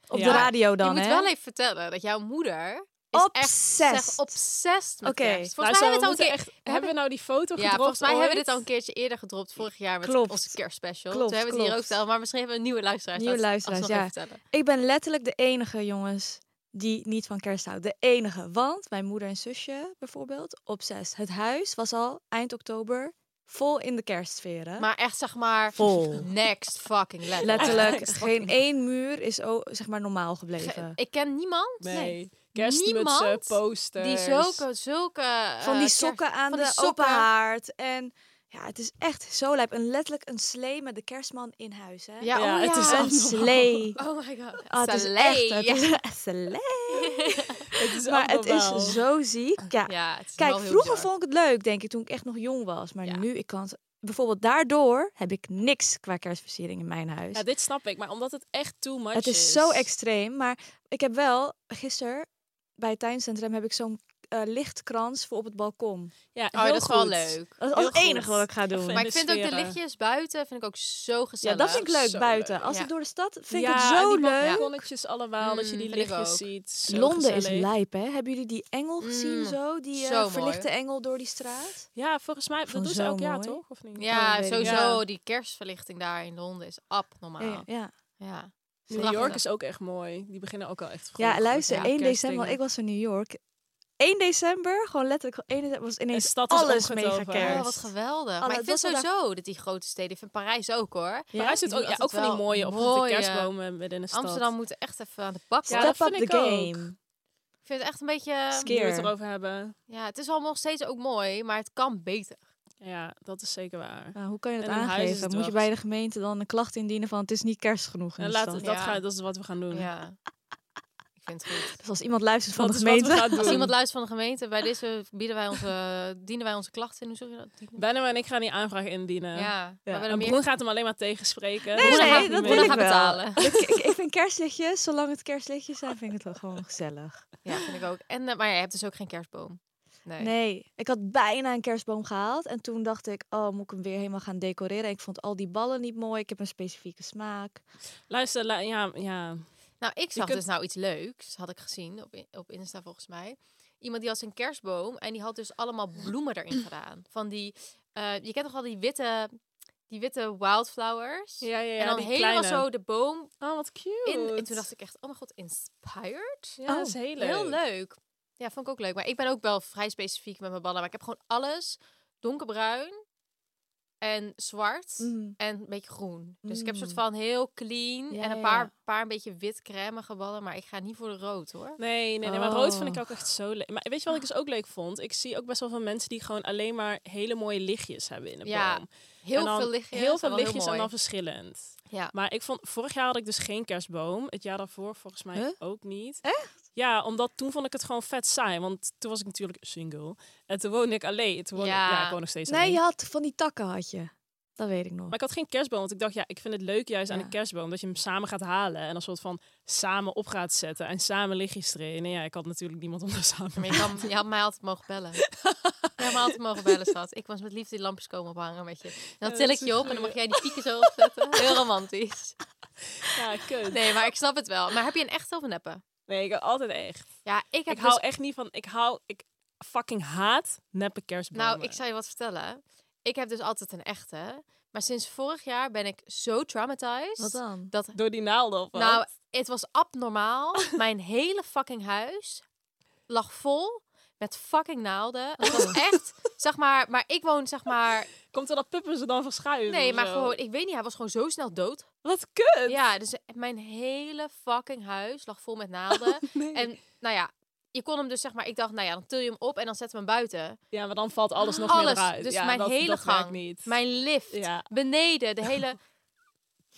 Speaker 3: Op
Speaker 1: Ja.
Speaker 3: de radio dan,
Speaker 2: Je moet
Speaker 3: hè?
Speaker 2: wel even vertellen dat jouw moeder is echt zeg,
Speaker 3: Obsessed.
Speaker 2: obsessed met
Speaker 3: Oké.
Speaker 2: kerst.
Speaker 1: Nou,
Speaker 2: Volgens mij
Speaker 1: zo,
Speaker 2: hebben we het al een
Speaker 1: we
Speaker 2: keer...
Speaker 1: moeten echt- hebben we nou die foto
Speaker 2: Ja,
Speaker 1: gedropt
Speaker 2: volgens mij hebben we
Speaker 1: ooit?
Speaker 2: dit al een keertje eerder gedropt vorig jaar met
Speaker 3: Klopt.
Speaker 2: onze kerstspecial.
Speaker 3: Klopt,
Speaker 2: Toen hebben we het hier ook
Speaker 3: klopt.
Speaker 2: verteld, maar misschien hebben we een nieuwe luisteraar.
Speaker 3: Nieuwe luisteraars, ja.
Speaker 2: Vertellen.
Speaker 3: Ik ben letterlijk de enige, jongens, die niet van kerst houdt. De enige. Want mijn moeder en zusje bijvoorbeeld, op zes. Het huis was al eind oktober vol in de kerstsferen.
Speaker 2: Maar echt zeg maar
Speaker 3: vol.
Speaker 2: next fucking level. <laughs>
Speaker 3: Letterlijk,
Speaker 2: Next
Speaker 3: geen
Speaker 2: fucking-
Speaker 3: één muur is o- zeg maar normaal gebleven.
Speaker 2: Ik ken niemand
Speaker 1: Nee. Kerstmutsen,
Speaker 2: Niemand die
Speaker 1: posters.
Speaker 2: die zulke, zulke eh,
Speaker 3: Van die
Speaker 2: kerst-
Speaker 3: sokken aan
Speaker 2: van
Speaker 3: de
Speaker 2: die sokken.
Speaker 3: open haard. En ja, het is echt zo lijp. En letterlijk een slee met de kerstman in huis. Hè?
Speaker 2: Ja,
Speaker 1: Ja,
Speaker 2: oh,
Speaker 1: het is
Speaker 2: ja.
Speaker 3: Een <laughs> slee.
Speaker 2: Oh my god.
Speaker 3: Ah, het is echt,
Speaker 2: Soleil. <laughs>
Speaker 3: het is een slee.
Speaker 1: <laughs> Het is
Speaker 3: Maar het
Speaker 1: abnormaal.
Speaker 3: is zo ziek. Ja,
Speaker 2: Ja, het is
Speaker 3: Kijk,
Speaker 2: wel heel
Speaker 3: vroeger
Speaker 2: bizar.
Speaker 3: vond ik het leuk, denk ik, toen ik echt nog jong was. Maar
Speaker 2: Ja.
Speaker 3: nu, ik kan het... Bijvoorbeeld daardoor heb ik niks qua kerstversiering in mijn huis.
Speaker 1: Ja, dit snap ik, maar omdat het echt too much
Speaker 3: het is zo extreem. Maar ik heb wel, gisteren bij het tuincentrum heb ik zo'n eh, lichtkrans voor op het balkon.
Speaker 1: Ja,
Speaker 2: Oh,
Speaker 1: heel
Speaker 2: dat is wel
Speaker 1: goed.
Speaker 2: leuk.
Speaker 3: Dat
Speaker 1: Heel
Speaker 3: is als het enige
Speaker 1: goed.
Speaker 3: wat ik ga doen.
Speaker 1: Even-
Speaker 2: Maar
Speaker 1: de
Speaker 2: ik vind ook de
Speaker 1: sferen.
Speaker 2: lichtjes buiten vind ik ook zo
Speaker 3: ja,
Speaker 2: gezellig.
Speaker 3: dat vind ik leuk
Speaker 1: Zo
Speaker 3: buiten.
Speaker 1: leuk,
Speaker 3: Als
Speaker 2: ja.
Speaker 3: ik door de stad vind
Speaker 1: ja,
Speaker 3: ik het
Speaker 1: en
Speaker 3: zo
Speaker 1: die
Speaker 3: leuk.
Speaker 1: balkonnetjes allemaal, dat je die
Speaker 2: Mm, vind ik
Speaker 1: lichtjes
Speaker 2: ook.
Speaker 1: ziet. Zo
Speaker 3: Londen is
Speaker 1: gezellig.
Speaker 3: lijp, hè? Hebben jullie die engel gezien
Speaker 2: Mm,
Speaker 3: zo? Die eh,
Speaker 2: zo mooi.
Speaker 3: verlichte engel door die straat?
Speaker 1: Ja, volgens mij, dat
Speaker 3: Vond
Speaker 1: doen ze
Speaker 3: zo
Speaker 1: elk jaar
Speaker 3: mooi.
Speaker 1: toch? Of niet?
Speaker 3: Oh,
Speaker 2: Ja,
Speaker 3: weet ik
Speaker 2: sowieso.
Speaker 1: niet.
Speaker 2: Die kerstverlichting daar in Londen is abnormaal.
Speaker 3: Ja,
Speaker 2: Ja.
Speaker 3: ja.
Speaker 1: New York is ook echt mooi. Die beginnen ook al echt goed.
Speaker 3: Ja,
Speaker 1: met
Speaker 3: luister,
Speaker 1: die
Speaker 3: 1 december,
Speaker 1: kerstdingen.
Speaker 3: want ik was in New York. 1 december, gewoon letterlijk 1 december, was
Speaker 1: De
Speaker 3: ineens
Speaker 1: stad is
Speaker 3: alles
Speaker 1: omgetogen.
Speaker 3: mega
Speaker 1: Ja,
Speaker 3: kerst.
Speaker 2: Oh, wat geweldig. maar
Speaker 3: Alle-
Speaker 2: ik vind
Speaker 3: dat we
Speaker 2: sowieso dat die grote steden, ik vind Parijs ook hoor.
Speaker 1: Maar hij zit
Speaker 2: Die
Speaker 1: ook,
Speaker 2: doen
Speaker 1: ja, ook
Speaker 2: altijd
Speaker 1: van die
Speaker 2: wel
Speaker 1: mooie, of de
Speaker 2: mooie-
Speaker 1: kerstbomen midden in de stad.
Speaker 2: Amsterdam moet echt even aan de bak.
Speaker 1: Ja,
Speaker 2: hoor.
Speaker 1: dat
Speaker 3: Step up
Speaker 1: vind
Speaker 3: the
Speaker 1: ik ook.
Speaker 3: game.
Speaker 2: Ik vind het echt een beetje... ehm,
Speaker 3: Ski-
Speaker 1: die we het
Speaker 3: keer.
Speaker 1: erover hebben.
Speaker 2: Ja, het is allemaal nog steeds ook mooi, maar het kan beter.
Speaker 1: Ja, dat is zeker waar.
Speaker 3: Nou, hoe kan je dat
Speaker 1: En in huis is
Speaker 3: aangeven?
Speaker 1: het
Speaker 3: Moet
Speaker 1: wel
Speaker 3: je bij de gemeente dan een klacht indienen van het is niet kerst genoeg in
Speaker 1: En
Speaker 3: de
Speaker 1: laat,
Speaker 3: stad?
Speaker 1: dat,
Speaker 2: Ja.
Speaker 1: ga, dat is wat we gaan doen.
Speaker 2: Ja. ik vind het goed.
Speaker 3: Dus als iemand luistert van
Speaker 1: Dat
Speaker 3: de
Speaker 1: is wat we
Speaker 3: gemeente.
Speaker 1: gaan
Speaker 2: Als
Speaker 1: doen.
Speaker 2: iemand luistert van de gemeente, bij deze bieden wij onze, dienen wij onze klachten. Hoe zeg je dat? Dienen?
Speaker 1: Benno en ik gaan die aanvraag indienen.
Speaker 2: Ja, maar we
Speaker 1: En
Speaker 2: hebben meer...
Speaker 1: Broen gaat hem alleen maar tegenspreken.
Speaker 3: Nee,
Speaker 1: Dus
Speaker 2: Broen
Speaker 1: daar
Speaker 3: nee,
Speaker 1: gaat
Speaker 2: gaat-
Speaker 1: hij
Speaker 3: dat
Speaker 1: mee.
Speaker 2: Broen
Speaker 3: wil ik
Speaker 2: gaat
Speaker 3: wel.
Speaker 2: betalen.
Speaker 3: ik, <laughs> ik, ik vind kerstlichtjes, zolang het kerstlichtjes zijn, vind ik het wel gewoon gezellig.
Speaker 2: Ja, vind ik ook. En, eh, maar jij hebt dus ook geen kerstboom. Nee.
Speaker 3: Nee, ik had bijna een kerstboom gehaald. En toen dacht ik, oh, moet ik hem weer helemaal gaan decoreren? Ik vond al die ballen niet mooi. Ik heb een specifieke smaak.
Speaker 1: Luister, lu- ja, ja.
Speaker 2: Nou, ik zag
Speaker 1: kunt-
Speaker 2: dus nou iets leuks, had ik gezien op, in- op Insta volgens mij. Iemand die had een kerstboom en die had dus allemaal bloemen erin
Speaker 1: <clears throat>
Speaker 2: gedaan. Van die, eh, je kent toch al die witte, die witte wildflowers?
Speaker 1: ja, ja, ja
Speaker 2: en dan
Speaker 1: die
Speaker 2: helemaal
Speaker 1: kleine.
Speaker 2: zo de boom
Speaker 1: Oh, wat cute.
Speaker 2: in. En toen dacht ik echt, oh mijn god, inspired?
Speaker 1: ja, dat is
Speaker 3: Oh.
Speaker 1: heel leuk.
Speaker 2: Heel leuk. Ja, vond ik ook leuk. Maar ik ben ook wel vrij specifiek met mijn ballen. Maar ik heb gewoon alles donkerbruin en zwart
Speaker 3: Mm.
Speaker 2: en een beetje groen. Dus ik heb een soort
Speaker 3: Mm.
Speaker 2: van heel clean
Speaker 3: Ja,
Speaker 2: en een
Speaker 3: ja,
Speaker 2: paar,
Speaker 3: ja.
Speaker 2: paar een beetje wit crèmeige ballen. Maar ik ga niet voor de rood hoor.
Speaker 1: Nee, nee, nee, maar rood vind ik
Speaker 5: Oh.
Speaker 1: ook echt zo leuk. Maar weet je wat ik dus ook leuk vond? Ik zie ook best wel veel mensen die gewoon alleen maar hele mooie lichtjes hebben in de
Speaker 2: Ja,
Speaker 1: boom. En
Speaker 2: Heel
Speaker 1: dan
Speaker 2: veel lichtjes.
Speaker 1: Heel
Speaker 2: maar
Speaker 1: veel
Speaker 2: wel
Speaker 1: lichtjes
Speaker 2: mooi.
Speaker 1: en dan verschillend.
Speaker 2: <laughs> Ja.
Speaker 1: Maar ik vond, vorig jaar had ik dus geen kerstboom. Het jaar daarvoor volgens mij
Speaker 3: Huh?
Speaker 1: ook niet. Echt? Ja, omdat toen vond ik het gewoon vet saai. Want toen was ik natuurlijk single. En toen woonde ik alleen. Toen woonde
Speaker 2: Ja.
Speaker 1: Ik, ja, ik woon nog steeds
Speaker 3: Nee,
Speaker 1: alleen.
Speaker 3: je had van die takken had je. Dat weet ik nog.
Speaker 1: Maar ik had geen kerstboom, want ik dacht, ja, ik vind het leuk juist aan
Speaker 3: Ja.
Speaker 1: een kerstboom. Dat je hem samen gaat halen en een soort van samen op gaat zetten. En samen lichtjes erin. En ja, ik had natuurlijk niemand om daar <laughs> samen
Speaker 2: Maar je, kan, je had mij altijd mogen <laughs> bellen. Je had mij altijd mogen bellen, schat. Ik was met liefde die lampjes komen ophangen met je. En dan
Speaker 1: Ja,
Speaker 2: til
Speaker 1: dat is
Speaker 2: ik
Speaker 1: een
Speaker 2: je op en dan
Speaker 1: goeie.
Speaker 2: mag jij die pieken zo opzetten. <laughs> Heel romantisch.
Speaker 1: Ja, kut.
Speaker 2: Nee, maar ik snap het wel. Maar heb je een echte of een neppe?
Speaker 1: Nee, ik heb altijd echt.
Speaker 2: Ja, ik heb
Speaker 1: Ik hou
Speaker 2: dus-
Speaker 1: echt niet van. Ik hou. Ik fucking haat neppe kerstbomen.
Speaker 2: Nou, ik zal je wat vertellen. Ik heb dus altijd een echte. Maar sinds vorig jaar ben ik zo traumatized.
Speaker 3: Wat dan?
Speaker 2: Dat,
Speaker 1: Door die naalden of wat?
Speaker 2: nou, het was
Speaker 1: <laughs>
Speaker 2: abnormaal. Mijn hele fucking huis lag vol met fucking naalden. Het
Speaker 1: Oh.
Speaker 2: was echt, zeg maar, maar ik woon, zeg
Speaker 1: <laughs>
Speaker 2: maar,
Speaker 1: Komt er dat puppen ze dan verschuiven?
Speaker 2: nee,
Speaker 1: of
Speaker 2: maar
Speaker 1: zo?
Speaker 2: gewoon, ik weet niet, hij was gewoon zo snel dood.
Speaker 1: Wat
Speaker 2: <laughs>
Speaker 1: kut!
Speaker 2: Ja, dus mijn hele fucking huis lag vol met
Speaker 1: <laughs>
Speaker 2: naalden.
Speaker 1: Nee.
Speaker 2: En, nou ja, je kon hem dus, zeg maar, ik dacht, nou ja, dan til je hem op en dan zetten we hem buiten.
Speaker 1: ja, maar dan valt alles nog
Speaker 2: Alles.
Speaker 1: meer eruit.
Speaker 2: Dus
Speaker 1: ja,
Speaker 2: mijn
Speaker 1: dat,
Speaker 2: hele
Speaker 1: dat
Speaker 2: gang.
Speaker 1: werkt niet.
Speaker 2: Mijn lift,
Speaker 1: Ja.
Speaker 2: beneden, de hele...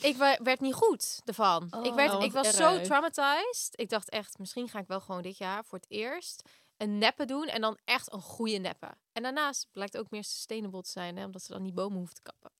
Speaker 2: ik wa- werd niet goed ervan. ik, werd,
Speaker 1: Oh,
Speaker 2: ik
Speaker 1: wat
Speaker 2: was zo
Speaker 1: erg.
Speaker 2: traumatized. Ik dacht echt, misschien ga ik wel gewoon dit jaar voor het eerst een neppen doen. En dan echt een goede neppen. En daarnaast blijkt ook meer sustainable te zijn. Hè, omdat ze dan niet bomen hoeft te kappen.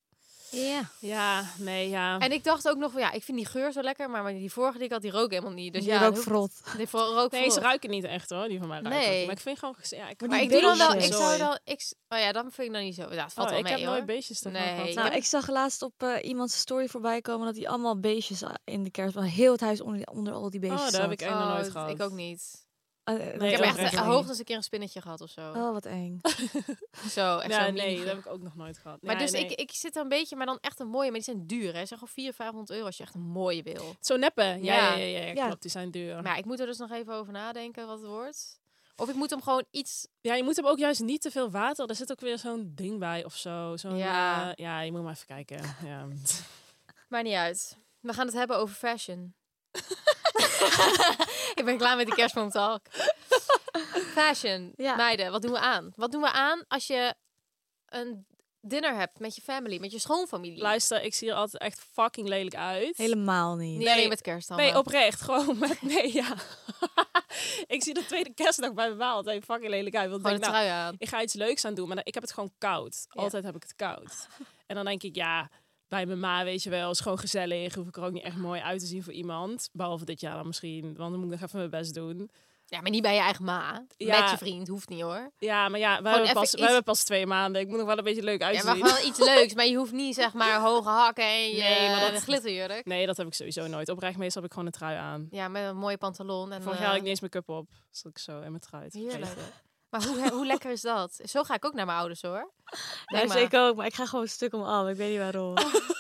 Speaker 6: Ja.
Speaker 1: Ja, nee, ja.
Speaker 2: En ik dacht ook nog van, ja, ik vind die geur zo lekker. Maar die vorige die ik had, die rook helemaal niet. Dus
Speaker 3: je
Speaker 2: ja,
Speaker 3: ook
Speaker 2: dat hoeft-
Speaker 3: vrot.
Speaker 2: Die voor- rook
Speaker 1: Nee, ze
Speaker 2: vroeg.
Speaker 1: ruiken niet echt hoor, die van mij ruiken.
Speaker 2: Nee.
Speaker 1: Maar ik vind gewoon... gez- Ja, ik
Speaker 2: Maar
Speaker 3: die
Speaker 2: ik doe dan wel, ik
Speaker 3: beestjes.
Speaker 2: zou dan, ik, s- oh ja, dan vind ik dan niet zo. Ja, het valt
Speaker 1: Oh,
Speaker 2: wel
Speaker 1: ik
Speaker 2: mee,
Speaker 1: heb
Speaker 2: hoor.
Speaker 1: nooit beestjes te
Speaker 2: Nee.
Speaker 1: gehad.
Speaker 3: Nou,
Speaker 2: heb-
Speaker 3: ik zag laatst op eh, iemands story voorbij komen dat hij allemaal beestjes eh, in de kerstboom. Heel het huis onder, onder al die beestjes.
Speaker 1: Oh, daar heb ik
Speaker 3: zat.
Speaker 1: echt nog
Speaker 2: Oh,
Speaker 1: nooit
Speaker 2: dat-
Speaker 1: gehad.
Speaker 2: Ik ook niet.
Speaker 3: Eh, dat
Speaker 2: ik
Speaker 1: ook
Speaker 2: heb echt
Speaker 1: echt
Speaker 2: eh,
Speaker 1: niet.
Speaker 2: hoogstens een keer een spinnetje gehad of zo.
Speaker 3: Oh, wat eng.
Speaker 2: Zo, echt
Speaker 1: Ja,
Speaker 2: zo'n
Speaker 1: Nou, nee,
Speaker 2: mini-
Speaker 1: dat heb ik ook nog nooit gehad.
Speaker 2: Maar
Speaker 1: Ja,
Speaker 2: dus
Speaker 1: nee.
Speaker 2: ik, ik zit er een beetje, maar dan echt een mooie. Maar die zijn duur, hè. Zeg gewoon 400, 500 euro als je echt een mooie wil.
Speaker 1: Zo neppen. Ja,
Speaker 2: Ja.
Speaker 1: ja, ja, ja,
Speaker 3: Ja.
Speaker 1: klopt. Die zijn duur.
Speaker 2: Maar ja, ik moet er dus nog even over nadenken wat het wordt. Of ik moet hem gewoon iets...
Speaker 1: Ja, je moet hem ook juist niet te veel water. Er zit ook weer zo'n ding bij of zo. Zo'n,
Speaker 2: Ja.
Speaker 1: ja. ja, je moet maar even kijken.
Speaker 2: <laughs>
Speaker 1: Ja.
Speaker 2: Maar niet uit. We gaan het hebben over fashion. <laughs> ik ben klaar met die kerstboomtalk. Fashion.
Speaker 3: Ja.
Speaker 2: Meiden, wat doen we aan? Wat doen we aan als je een dinner hebt met je family, met je schoonfamilie?
Speaker 1: Luister, ik zie er altijd echt fucking lelijk uit.
Speaker 3: Helemaal niet.
Speaker 2: Niet
Speaker 1: Nee.
Speaker 2: alleen met kerst dan.
Speaker 1: Nee,
Speaker 2: maar.
Speaker 1: oprecht. Gewoon met... Nee, ja. <laughs> ik zie de tweede kerstdag bij me wel altijd fucking lelijk uit. Want ik
Speaker 2: Gewoon
Speaker 1: denk,
Speaker 2: een
Speaker 1: nou,
Speaker 2: trui aan.
Speaker 1: ik ga iets leuks aan doen, maar dan- ik heb het gewoon koud.
Speaker 2: Ja.
Speaker 1: Altijd heb ik het koud. en dan denk ik, ja, bij mijn ma weet je wel, is gewoon gezellig. Hoef ik er ook niet echt mooi uit te zien voor iemand. Behalve dit jaar dan misschien, want dan moet ik nog even mijn best doen.
Speaker 2: Ja, maar niet bij je eigen ma.
Speaker 1: Ja.
Speaker 2: Met je vriend, hoeft niet hoor.
Speaker 1: Ja, maar ja, we,
Speaker 2: Gewoon
Speaker 1: hebben
Speaker 2: even
Speaker 1: pas, we
Speaker 2: iets-
Speaker 1: hebben pas twee maanden. Ik moet nog wel een beetje leuk
Speaker 2: Ja,
Speaker 1: uitzien.
Speaker 2: maar wel iets leuks. Maar je hoeft niet zeg
Speaker 1: <laughs>
Speaker 2: maar hoge hakken en je
Speaker 1: Nee, maar dat-
Speaker 2: een glitterjurk.
Speaker 1: <laughs> Nee, dat heb ik sowieso nooit. Oprecht, meestal heb ik gewoon een trui aan.
Speaker 2: Ja, met een mooie pantalon. En,
Speaker 1: Vorig jaar had ik
Speaker 2: eh,
Speaker 1: niet eens make-up op. Zat ik zo in mijn trui. te
Speaker 2: Heerlijk.
Speaker 1: vergeten.
Speaker 2: Maar hoe, hoe lekker is dat? Zo ga ik ook naar mijn ouders hoor.
Speaker 3: Nee,
Speaker 2: Nee, maar-
Speaker 3: zeker ook, maar ik ga gewoon een stuk om af. Ik weet niet waarom. Ze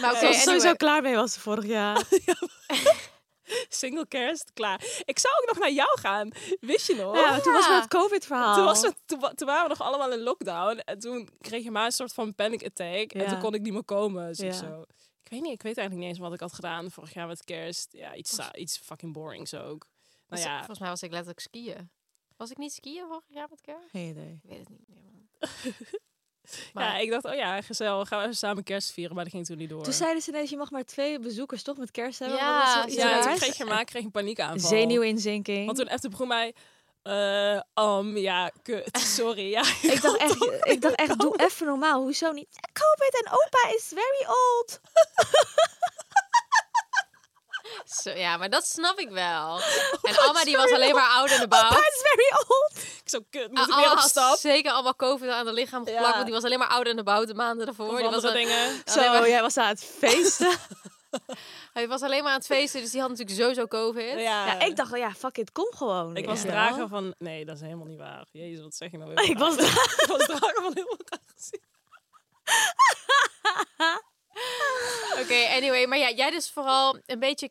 Speaker 2: Maar oké,
Speaker 3: was er sowieso
Speaker 2: anyway.
Speaker 3: klaar mee was ze vorig jaar.
Speaker 1: <laughs> Single kerst, klaar. Ik zou ook nog naar jou gaan. Wist je nog?
Speaker 3: Ja, maar toen was
Speaker 2: ja.
Speaker 3: het COVID-verhaal.
Speaker 1: Toen, was het, toen, wa- toen waren we nog allemaal in lockdown. En toen kreeg je maar een soort van panic attack. En
Speaker 3: Ja.
Speaker 1: toen kon ik niet meer komen. Dus ik
Speaker 3: Ja.
Speaker 1: zo. Ik weet niet, ik weet eigenlijk niet eens wat ik had gedaan vorig jaar met kerst. Ja, iets, sa- iets fucking borings ook. Nou
Speaker 2: Was-
Speaker 1: ja,
Speaker 2: Volgens mij was ik letterlijk skiën. Was ik niet skiën vorig jaar met kerst?
Speaker 3: Geen idee.
Speaker 2: Ik weet het niet meer
Speaker 1: <laughs>
Speaker 2: man.
Speaker 1: ja,
Speaker 2: Maar-
Speaker 1: ik dacht, oh ja, gezellig. Gaan we even samen kerst vieren. Maar dat ging toen niet door.
Speaker 3: Toen zeiden ze ineens, je mag maar twee bezoekers toch met kerst hebben?
Speaker 2: Ja,
Speaker 3: want dat is toch iets
Speaker 1: ja, toen
Speaker 3: raars?
Speaker 1: kreeg je maar kreeg een paniekaanval.
Speaker 3: Zenuwinzinking. <laughs>
Speaker 1: Want toen appte begon mij... eh um, ja, kut, sorry. Ja,
Speaker 3: Ik dacht echt, ik dacht echt doe even normaal. Hoezo niet? COVID en opa is very old.
Speaker 2: Zo, zo. Ja, maar dat snap ik
Speaker 1: <laughs>
Speaker 2: wel. en Alma die was alleen maar oud en de bouw.
Speaker 3: It's very old.
Speaker 1: Ik zo, kut, moet
Speaker 2: Ah,
Speaker 1: ik weer
Speaker 2: Alma
Speaker 1: op
Speaker 2: had
Speaker 1: stap?
Speaker 2: zeker allemaal COVID aan de lichaam geplakt.
Speaker 1: Ja.
Speaker 2: Want die was alleen maar ouder en de bouw de maanden
Speaker 1: Of
Speaker 2: daarvoor. Die was,
Speaker 1: andere
Speaker 2: al-
Speaker 1: dingen.
Speaker 2: Alleen
Speaker 3: Zo,
Speaker 2: maar-
Speaker 3: jij was aan het feesten.
Speaker 2: hij was alleen maar aan het feesten. Dus die had natuurlijk sowieso COVID.
Speaker 1: Ja.
Speaker 3: <laughs> ja, ik dacht, wel, ja, fuck it, kom gewoon.
Speaker 1: Ik was
Speaker 3: weet je wel.
Speaker 1: drager van... Nee, dat is helemaal niet waar. Jezus, wat zeg je nou weer?
Speaker 3: Ik was
Speaker 1: drager, <laughs> ik was drager van heel veel aangezien.
Speaker 2: Oké, anyway. Maar ja, jij dus vooral een beetje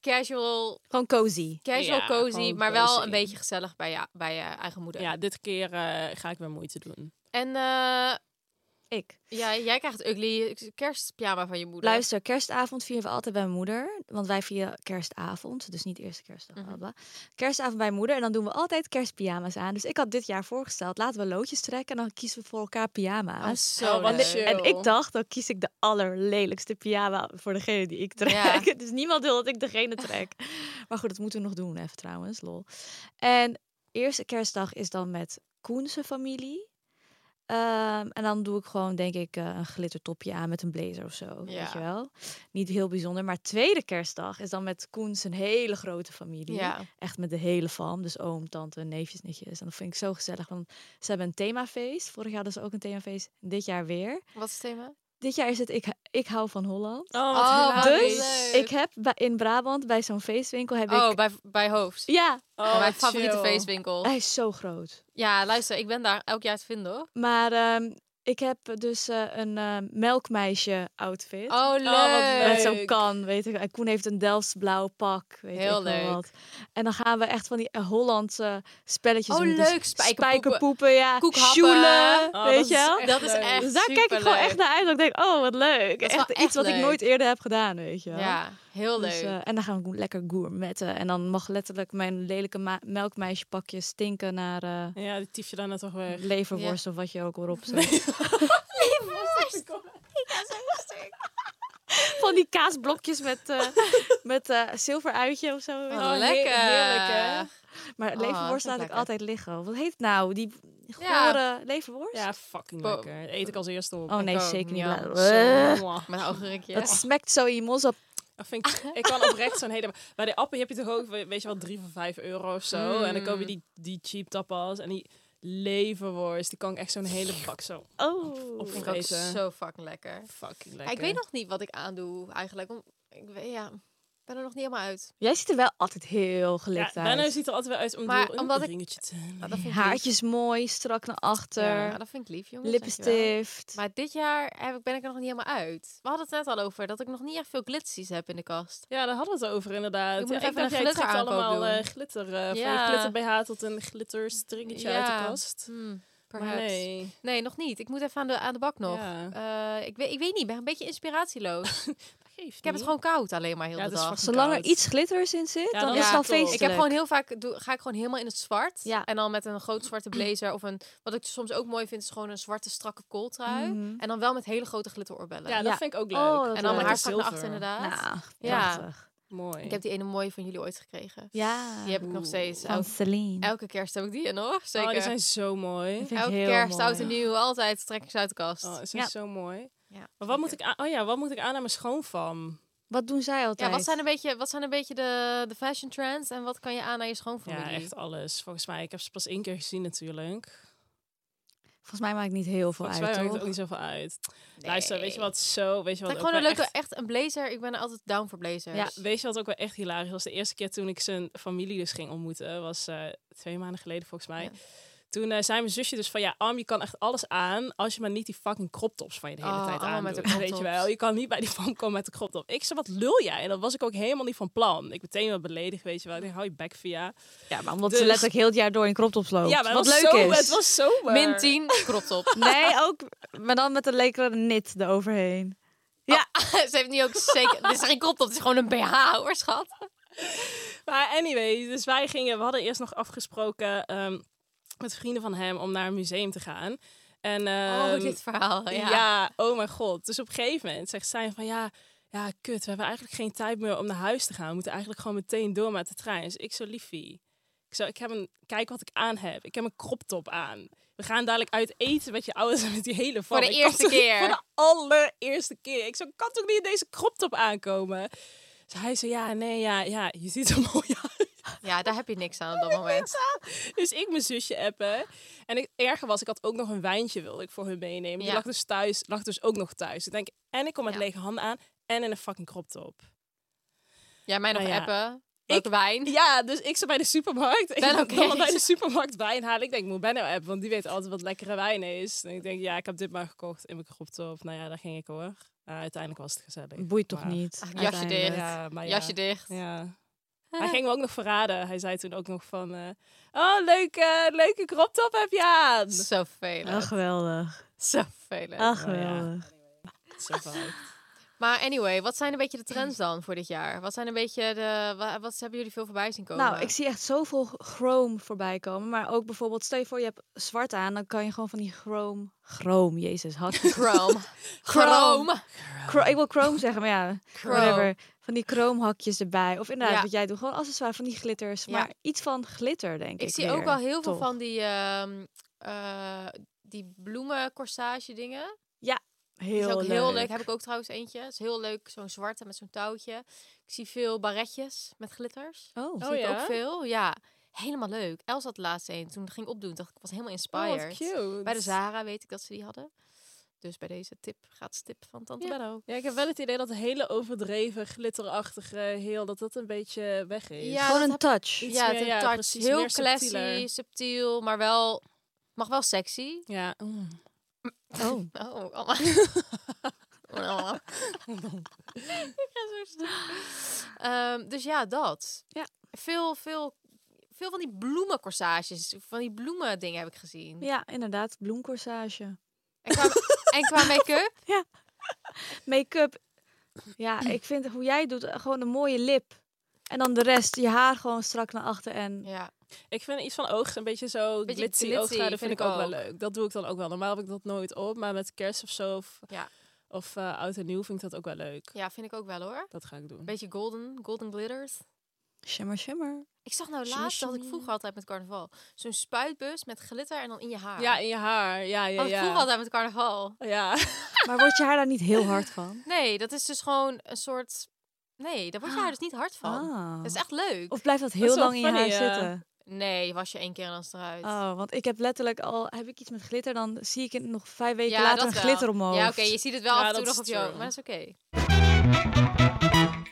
Speaker 2: casual,
Speaker 3: Gewoon cozy.
Speaker 2: casual
Speaker 1: Ja,
Speaker 2: cozy.
Speaker 1: gewoon
Speaker 2: Maar wel
Speaker 1: cozy.
Speaker 2: een beetje gezellig bij je, bij je eigen moeder.
Speaker 1: Ja, dit keer eh, ga ik weer moeite doen.
Speaker 2: En eh,
Speaker 3: Ik.
Speaker 2: ja, jij krijgt ugly kerstpyjama van je moeder.
Speaker 3: Luister, kerstavond vieren we altijd bij mijn moeder. Want wij vieren kerstavond, dus niet eerste kerstdag. bla,
Speaker 2: Mhm.
Speaker 3: bla. Kerstavond bij mijn moeder en dan doen we altijd kerstpyjama's aan. Dus ik had dit jaar voorgesteld, laten we loodjes trekken en dan kiezen we voor elkaar
Speaker 2: Oh,
Speaker 3: pyjama's.
Speaker 2: zo
Speaker 1: Oh, wat
Speaker 2: leuk.
Speaker 1: chill.
Speaker 3: En ik dacht, dan kies ik de allerlelijkste pyjama voor degene die ik trek. <laughs> dus niemand wil dat ik degene trek. maar goed, dat moeten we nog doen even trouwens, lol. En eerste kerstdag is dan met Koense familie. Ehm, en dan doe ik gewoon, denk ik, eh, een glittertopje aan met een blazer of zo.
Speaker 2: Ja.
Speaker 3: Weet je wel? Niet heel bijzonder. Maar tweede kerstdag is dan met Koens een hele grote familie.
Speaker 2: Ja.
Speaker 3: Echt met de hele fam. Dus oom, tante, neefjes, nichtjes. En dat vind ik zo gezellig. Want ze hebben een themafeest. Vorig jaar hadden ze ook een themafeest. Dit jaar weer.
Speaker 2: Wat is het thema?
Speaker 3: Dit jaar is het Ik, ik hou van Holland.
Speaker 1: Oh,
Speaker 2: wat Oh, wat leuk.
Speaker 3: dus ik heb bij, in Brabant bij zo'n feestwinkel heb
Speaker 2: Oh,
Speaker 3: ik...
Speaker 2: bij, bij Oh. Hoofd. Oh,
Speaker 3: Ja,
Speaker 1: Oh,
Speaker 2: mijn favoriete feestwinkel.
Speaker 3: hij is zo groot.
Speaker 2: Ja, luister, ik ben daar elk jaar te vinden hoor.
Speaker 3: Maar ehm, ik heb dus eh, een ehm, melkmeisje outfit.
Speaker 2: Oh, leuk.
Speaker 3: Met zo'n kan, weet ik. En Koen heeft een Delfts blauw pak. Weet
Speaker 2: Heel
Speaker 3: ik wel
Speaker 2: leuk.
Speaker 3: Wat. En dan gaan we echt van die eh, Hollandse spelletjes
Speaker 2: Oh,
Speaker 3: doen. Dus
Speaker 2: leuk, spijkerpoepen.
Speaker 3: Spijkerpoepen, ja.
Speaker 2: Koekhappen.
Speaker 3: Sjoelen,
Speaker 1: Oh,
Speaker 3: weet
Speaker 1: dat
Speaker 3: je
Speaker 1: is
Speaker 3: wel.
Speaker 1: echt
Speaker 2: Dat is
Speaker 1: leuk.
Speaker 2: echt
Speaker 3: Dus daar kijk ik gewoon
Speaker 2: superleuk.
Speaker 3: echt naar uit. Dat ik denk, oh, wat leuk.
Speaker 2: Dat is
Speaker 3: Echt,
Speaker 2: wel echt
Speaker 3: iets wat ik
Speaker 2: leuk.
Speaker 3: nooit eerder heb gedaan, weet je wel.
Speaker 2: Ja, heel leuk.
Speaker 3: Dus, eh, en dan gaan we go- lekker gourmetten. En dan mag letterlijk mijn lelijke ma- melkmeisjepakje stinken naar eh,
Speaker 1: Ja, die tief je daarna toch weg.
Speaker 3: leverworst of wat je ook erop zet. Van die kaasblokjes met, eh <laughs> met eh, zilveruitje of zo.
Speaker 2: Oh, lekker.
Speaker 1: heerlijk, hè?
Speaker 3: Maar
Speaker 2: Oh, dat is
Speaker 3: leverworst laat ik
Speaker 2: lekker.
Speaker 3: altijd liggen. Wat heet het nou? Die gore
Speaker 2: Ja.
Speaker 3: leverworst?
Speaker 1: Ja, fucking
Speaker 2: Bo-
Speaker 1: lekker. Eet ik als eerste op.
Speaker 3: oh nee,
Speaker 2: ook,
Speaker 3: zeker niet.
Speaker 2: ja.
Speaker 3: Bla-
Speaker 1: Zo,
Speaker 3: Ugh.
Speaker 1: mwah.
Speaker 2: Met een oogrinkje.
Speaker 3: Dat smekt zo in je mos op.
Speaker 1: Dat vind ik, ik kan oprecht zo'n hele... Bij de appen heb je toch ook, we- weet je wel, drie voor vijf euro of zo. En dan koop je die, die cheap tapas en die leverworst. Die kan ik echt zo'n hele bak zo
Speaker 3: Oh.
Speaker 1: op
Speaker 2: vind ik ook zo fucking lekker.
Speaker 1: Fucking
Speaker 2: Ja,
Speaker 1: lekker.
Speaker 2: ik weet nog niet wat ik aandoe eigenlijk. om- ik weet, ja, ik ben er nog niet helemaal uit.
Speaker 3: Jij ziet er wel altijd heel
Speaker 1: ja,
Speaker 3: gelikt
Speaker 1: daarna
Speaker 3: uit.
Speaker 1: ziet er altijd wel uit om
Speaker 2: Maar
Speaker 1: door
Speaker 2: omdat
Speaker 1: een
Speaker 2: ik-
Speaker 1: ringetje te
Speaker 2: Maar dat vind ik lief.
Speaker 3: Haartjes mooi, strak naar achter.
Speaker 2: Ja, dat vind ik lief, jongens. dankjewel.
Speaker 3: lippenstift.
Speaker 2: Maar dit jaar heb ik, ben ik er nog niet helemaal uit. We hadden het net al over dat ik nog niet echt veel glitties heb in de kast.
Speaker 1: Ja, daar hadden we het over inderdaad.
Speaker 2: Ik moet nog
Speaker 1: Ja,
Speaker 2: even een
Speaker 1: dacht, jij trekt
Speaker 2: glitteraankoop
Speaker 1: allemaal
Speaker 2: doen.
Speaker 1: eh, glitter. eh,
Speaker 2: Ja.
Speaker 1: Van je glitter BH tot een glitter stringetje uit
Speaker 2: Ja.
Speaker 1: de kast.
Speaker 2: Hmm,
Speaker 1: Maar
Speaker 2: perhaps. nee.
Speaker 1: nee.
Speaker 2: nog niet. Ik moet even aan de, aan de bak nog.
Speaker 1: Ja.
Speaker 2: Eh, ik, weet, ik weet niet, ik ben een beetje inspiratieloos.
Speaker 1: Geeft
Speaker 2: Ik heb het gewoon koud alleen maar heel
Speaker 1: Ja,
Speaker 2: de
Speaker 1: dat is
Speaker 2: dag.
Speaker 1: fucking
Speaker 3: Zolang er
Speaker 1: koud.
Speaker 3: iets glitters in zit,
Speaker 1: Ja,
Speaker 3: dan
Speaker 1: dan
Speaker 3: is
Speaker 2: is
Speaker 3: het al
Speaker 1: het top.
Speaker 3: feestelijk.
Speaker 2: Ik heb gewoon heel vaak, doe, ga ik gewoon helemaal in het zwart.
Speaker 3: Ja.
Speaker 2: En dan met een groot zwarte blazer. Of een, wat ik soms ook mooi vind, is gewoon een zwarte strakke kooltrui.
Speaker 3: Mhm.
Speaker 2: En dan wel met hele grote glitteroorbellen.
Speaker 1: Ja, dat
Speaker 3: Ja.
Speaker 1: vind ik ook leuk.
Speaker 3: Oh, dat
Speaker 2: en dan mijn
Speaker 3: leuk.
Speaker 2: haar strak naar
Speaker 1: Zilver.
Speaker 2: achter inderdaad.
Speaker 3: Nou,
Speaker 2: Ja.
Speaker 3: prachtig.
Speaker 1: Mooi. Oh,
Speaker 2: Ik heb die ene mooie van jullie ooit gekregen.
Speaker 3: Ja.
Speaker 2: Die heb ik nog steeds.
Speaker 3: Van
Speaker 2: Elke,
Speaker 3: Celine.
Speaker 2: elke kerst heb ik die en hoor. Zeker.
Speaker 1: Oh, die zijn zo mooi.
Speaker 3: Dat vind ik
Speaker 2: elke
Speaker 3: heel
Speaker 2: kerst,
Speaker 3: mooi.
Speaker 2: oud en nieuw, altijd trek ik ze uit de kast.
Speaker 1: Oh, die zijn
Speaker 3: Ja.
Speaker 1: zo mooi.
Speaker 2: Ja,
Speaker 1: Maar wat moet ik aan? Oh ja, wat moet ik aan aan mijn schoonfam?
Speaker 3: Wat doen zij altijd?
Speaker 2: ja, wat zijn een beetje, wat zijn een beetje de, de fashion trends en wat kan je aan naar je
Speaker 1: Ja,
Speaker 2: schoonfamilie?
Speaker 1: echt alles. Volgens mij, ik heb ze pas één keer gezien natuurlijk.
Speaker 3: Volgens mij maakt niet heel veel
Speaker 1: Volgens mij
Speaker 3: uit,
Speaker 1: maakt
Speaker 3: toch?
Speaker 1: het ook niet zoveel uit.
Speaker 2: Nee.
Speaker 1: Luister, weet je wat zo, weet je
Speaker 2: Trek
Speaker 1: wat
Speaker 2: gewoon
Speaker 1: ook
Speaker 2: een
Speaker 1: wel
Speaker 2: leuke,
Speaker 1: echt-
Speaker 2: echt... een blazer. Ik ben er altijd down voor blazers.
Speaker 3: Ja.
Speaker 1: Weet je wat ook wel echt hilarisch was? De eerste keer toen ik zijn familie dus ging ontmoeten, was eh, twee maanden geleden volgens mij.
Speaker 2: Ja.
Speaker 1: Toen eh, zei mijn zusje dus van, ja, Arm, je kan echt alles aan als je maar niet die fucking crop tops van je de hele
Speaker 2: Oh,
Speaker 1: tijd
Speaker 2: allemaal
Speaker 1: aan
Speaker 2: met de
Speaker 1: doet. Weet
Speaker 2: crop
Speaker 1: je wel,
Speaker 2: tops.
Speaker 1: je kan niet bij die van komen met de crop top. Ik zei, wat lul jij? En dat was ik ook helemaal niet van plan. Ik meteen wel beledigd, weet je wel. Ik denk, hou je bek via.
Speaker 3: Ja, maar omdat ze
Speaker 1: Dus-
Speaker 3: letterlijk heel het jaar door in crop loopt.
Speaker 1: Ja, maar
Speaker 3: wat
Speaker 1: het was
Speaker 3: leuk
Speaker 1: zo,
Speaker 3: is.
Speaker 1: Het was zomer.
Speaker 2: Min <laughs> 10, krop op.
Speaker 3: Nee, ook, maar dan met een lekkere knit eroverheen.
Speaker 2: <laughs> Ze heeft niet ook zeker. Dit is geen krop op, het is gewoon een BH hoor, schat.
Speaker 1: Maar anyway, dus wij gingen, we hadden eerst nog afgesproken ehm, met vrienden van hem om naar een museum te gaan. En,
Speaker 2: oh,
Speaker 1: ehm,
Speaker 2: dit verhaal. Ja.
Speaker 1: ja. oh mijn god. Dus op een gegeven moment zegt zij van ja, ja, kut, we hebben eigenlijk geen tijd meer om naar huis te gaan. We moeten eigenlijk gewoon meteen door met de trein. Dus ik zo liefie. Ik zo, ik heb een, kijk wat ik aan heb. Ik heb een crop top aan. We gaan dadelijk uit eten met je ouders en met die hele
Speaker 2: Voor de
Speaker 1: familie. Ik kan
Speaker 2: eerste
Speaker 1: toch-
Speaker 2: keer.
Speaker 1: Voor de allereerste keer. Ik zo, ik kan toch niet in deze crop top aankomen? Dus hij zei, ja, nee, ja, ja, je ziet er <laughs> mooi uit.
Speaker 2: Ja, daar heb je niks aan op dat moment.
Speaker 1: <laughs> Dus ik mijn zusje appen. En ik, erger was, ik had ook nog een wijntje wilde ik voor hun meenemen. Die
Speaker 2: Ja.
Speaker 1: lag dus thuis, lag dus ook nog thuis. Ik denk, en ik kom met
Speaker 2: Ja.
Speaker 1: lege handen aan en in een fucking crop
Speaker 2: <laughs>
Speaker 1: top.
Speaker 2: Ja, mij nog
Speaker 1: Nou ja.
Speaker 2: appen. Welke wijn?
Speaker 1: Ja, dus ik zat bij de supermarkt. Ik
Speaker 2: Benno
Speaker 1: ben
Speaker 2: Kees.
Speaker 1: bij de supermarkt wijn halen. Ik denk, ik moet Benno appen, want die weet altijd wat lekkere wijn is. En ik denk, ja, ik heb dit maar gekocht in mijn crop top. Nou ja, daar ging ik hoor. Nou, uiteindelijk was het gezellig.
Speaker 3: Boeit toch
Speaker 1: Maar-
Speaker 3: niet.
Speaker 2: Ach, jasje
Speaker 3: uiteindelijk.
Speaker 2: dicht.
Speaker 1: Ja, maar ja.
Speaker 2: Jasje Ah. dicht.
Speaker 1: Ja. Hij ging me ook nog verraden. Hij zei toen ook nog van... eh, oh, leuke, leuke crop top heb je
Speaker 2: <laughs>
Speaker 1: aan.
Speaker 2: Zo vervelend.
Speaker 3: Ach, Ah. geweldig.
Speaker 2: Zo vervelend.
Speaker 3: Ach,
Speaker 1: Nou ja.
Speaker 3: geweldig.
Speaker 1: Zo vaak.
Speaker 2: Maar anyway, wat zijn een beetje de
Speaker 3: <clears throat>
Speaker 2: trends dan voor dit jaar? Wat zijn een beetje de... wa- Wat hebben jullie veel voorbij zien komen?
Speaker 3: Nou, ik zie echt zoveel chrome voorbij komen. Maar ook bijvoorbeeld, stel je voor je hebt zwart aan. Dan kan je gewoon van die chrome... Chrome, jezus. Had...
Speaker 2: <laughs> Chrome.
Speaker 3: <laughs> Chrome.
Speaker 2: Oh.
Speaker 3: Chro- ik wil chrome zeggen, maar
Speaker 2: <laughs>
Speaker 3: ja. Whatever. Van die chromehakjes erbij. Of inderdaad,
Speaker 2: Ja.
Speaker 3: wat jij doet. Gewoon accessoire van die glitters.
Speaker 2: Ja.
Speaker 3: Maar iets van glitter, denk ik.
Speaker 2: Ik zie ook
Speaker 3: weer,
Speaker 2: wel heel veel
Speaker 3: toch?
Speaker 2: van die, ehm eh die bloemen corsage dingen. Die is
Speaker 3: Heel
Speaker 2: ook heel leuk.
Speaker 3: leuk.
Speaker 2: Heb ik ook trouwens eentje. Is heel leuk, zo'n zwarte met zo'n touwtje. Ik zie veel baretjes met glitters.
Speaker 3: Oh,
Speaker 2: zie ik
Speaker 1: ja?
Speaker 2: ook veel. Ja, helemaal leuk. Els had laatst een. Toen ging ik opdoen, dacht ik, ik was helemaal
Speaker 1: Oh,
Speaker 2: inspired.
Speaker 1: wat cute.
Speaker 2: Bij de Zara weet ik dat ze die hadden. Dus bij deze tip, gratis tip van Tante
Speaker 1: Ja.
Speaker 2: Benno.
Speaker 1: Ja, ik heb wel het idee dat de hele overdreven, glitterachtige heel... dat dat een beetje weg is.
Speaker 2: Ja,
Speaker 3: gewoon
Speaker 2: dat
Speaker 3: een
Speaker 2: heb-
Speaker 3: touch.
Speaker 1: Iets
Speaker 2: ja,
Speaker 1: meer-
Speaker 2: het
Speaker 1: ja,
Speaker 2: touch.
Speaker 1: precies,
Speaker 2: heel
Speaker 1: meer
Speaker 2: classy,
Speaker 1: subtieler.
Speaker 2: subtiel, maar wel... Mag wel sexy.
Speaker 1: Ja.
Speaker 3: Oh.
Speaker 2: Oh,
Speaker 1: <laughs>
Speaker 2: allemaal. allemaal. Ik ga zo stuk. Ehm, dus ja, dat.
Speaker 3: Ja.
Speaker 2: Veel, veel, veel van die bloemencorsages, van die bloemen dingen heb ik gezien.
Speaker 3: Ja, inderdaad. Bloemcorsage.
Speaker 2: En qua, en
Speaker 1: <laughs>
Speaker 2: qua make-up?
Speaker 3: Make-up.
Speaker 2: <clears throat>
Speaker 3: Ja, ik vind hoe jij het doet, eh, gewoon een mooie lip. En dan de rest, je haar gewoon strak naar achter en...
Speaker 2: Ja.
Speaker 1: Ik vind iets van oog een beetje zo
Speaker 2: Beetje
Speaker 1: glitzy,
Speaker 2: glitzy,
Speaker 1: oogschaduw vind,
Speaker 2: vind
Speaker 1: ik
Speaker 2: ik
Speaker 1: ook, wel
Speaker 2: ook.
Speaker 1: leuk. Dat doe ik dan ook wel. Normaal heb ik dat nooit op, maar met kerst of zo of,
Speaker 2: Ja.
Speaker 1: of eh, oud en nieuw vind ik dat ook wel leuk.
Speaker 2: ja, vind ik ook wel hoor.
Speaker 1: Dat ga ik doen.
Speaker 2: Beetje golden, golden glitters.
Speaker 3: Shimmer, shimmer.
Speaker 2: Ik zag nou
Speaker 1: Shimmy,
Speaker 2: laatst, dat had ik
Speaker 1: shimmy.
Speaker 2: vroeger altijd met carnaval, zo'n spuitbus met glitter en dan in je haar.
Speaker 1: Ja, in je haar. Ja, ja,
Speaker 2: Had ik vroeger
Speaker 1: ja.
Speaker 2: altijd met carnaval.
Speaker 1: Ja.
Speaker 3: Maar wordt je haar daar niet heel hard van?
Speaker 2: Nee, dat is dus gewoon een soort... Nee, daar word je haar dus niet hard van.
Speaker 3: Ah.
Speaker 2: Dat is echt leuk.
Speaker 3: Of blijft dat heel
Speaker 1: is wel
Speaker 3: lang in je
Speaker 1: funny,
Speaker 3: haar
Speaker 1: ja.
Speaker 3: zitten?
Speaker 2: Nee, was je één keer en dan is het eruit.
Speaker 3: Oh, want ik heb letterlijk al... Heb ik iets met glitter, dan zie ik het nog vijf weken
Speaker 2: Ja,
Speaker 3: later een
Speaker 2: dat wel.
Speaker 3: glitter op mijn
Speaker 2: Ja,
Speaker 3: hoofd.
Speaker 2: oké, je ziet het wel
Speaker 1: Ja,
Speaker 2: af en toe
Speaker 1: dat
Speaker 2: nog
Speaker 1: is
Speaker 2: op jou,
Speaker 1: true.
Speaker 2: maar dat is oké.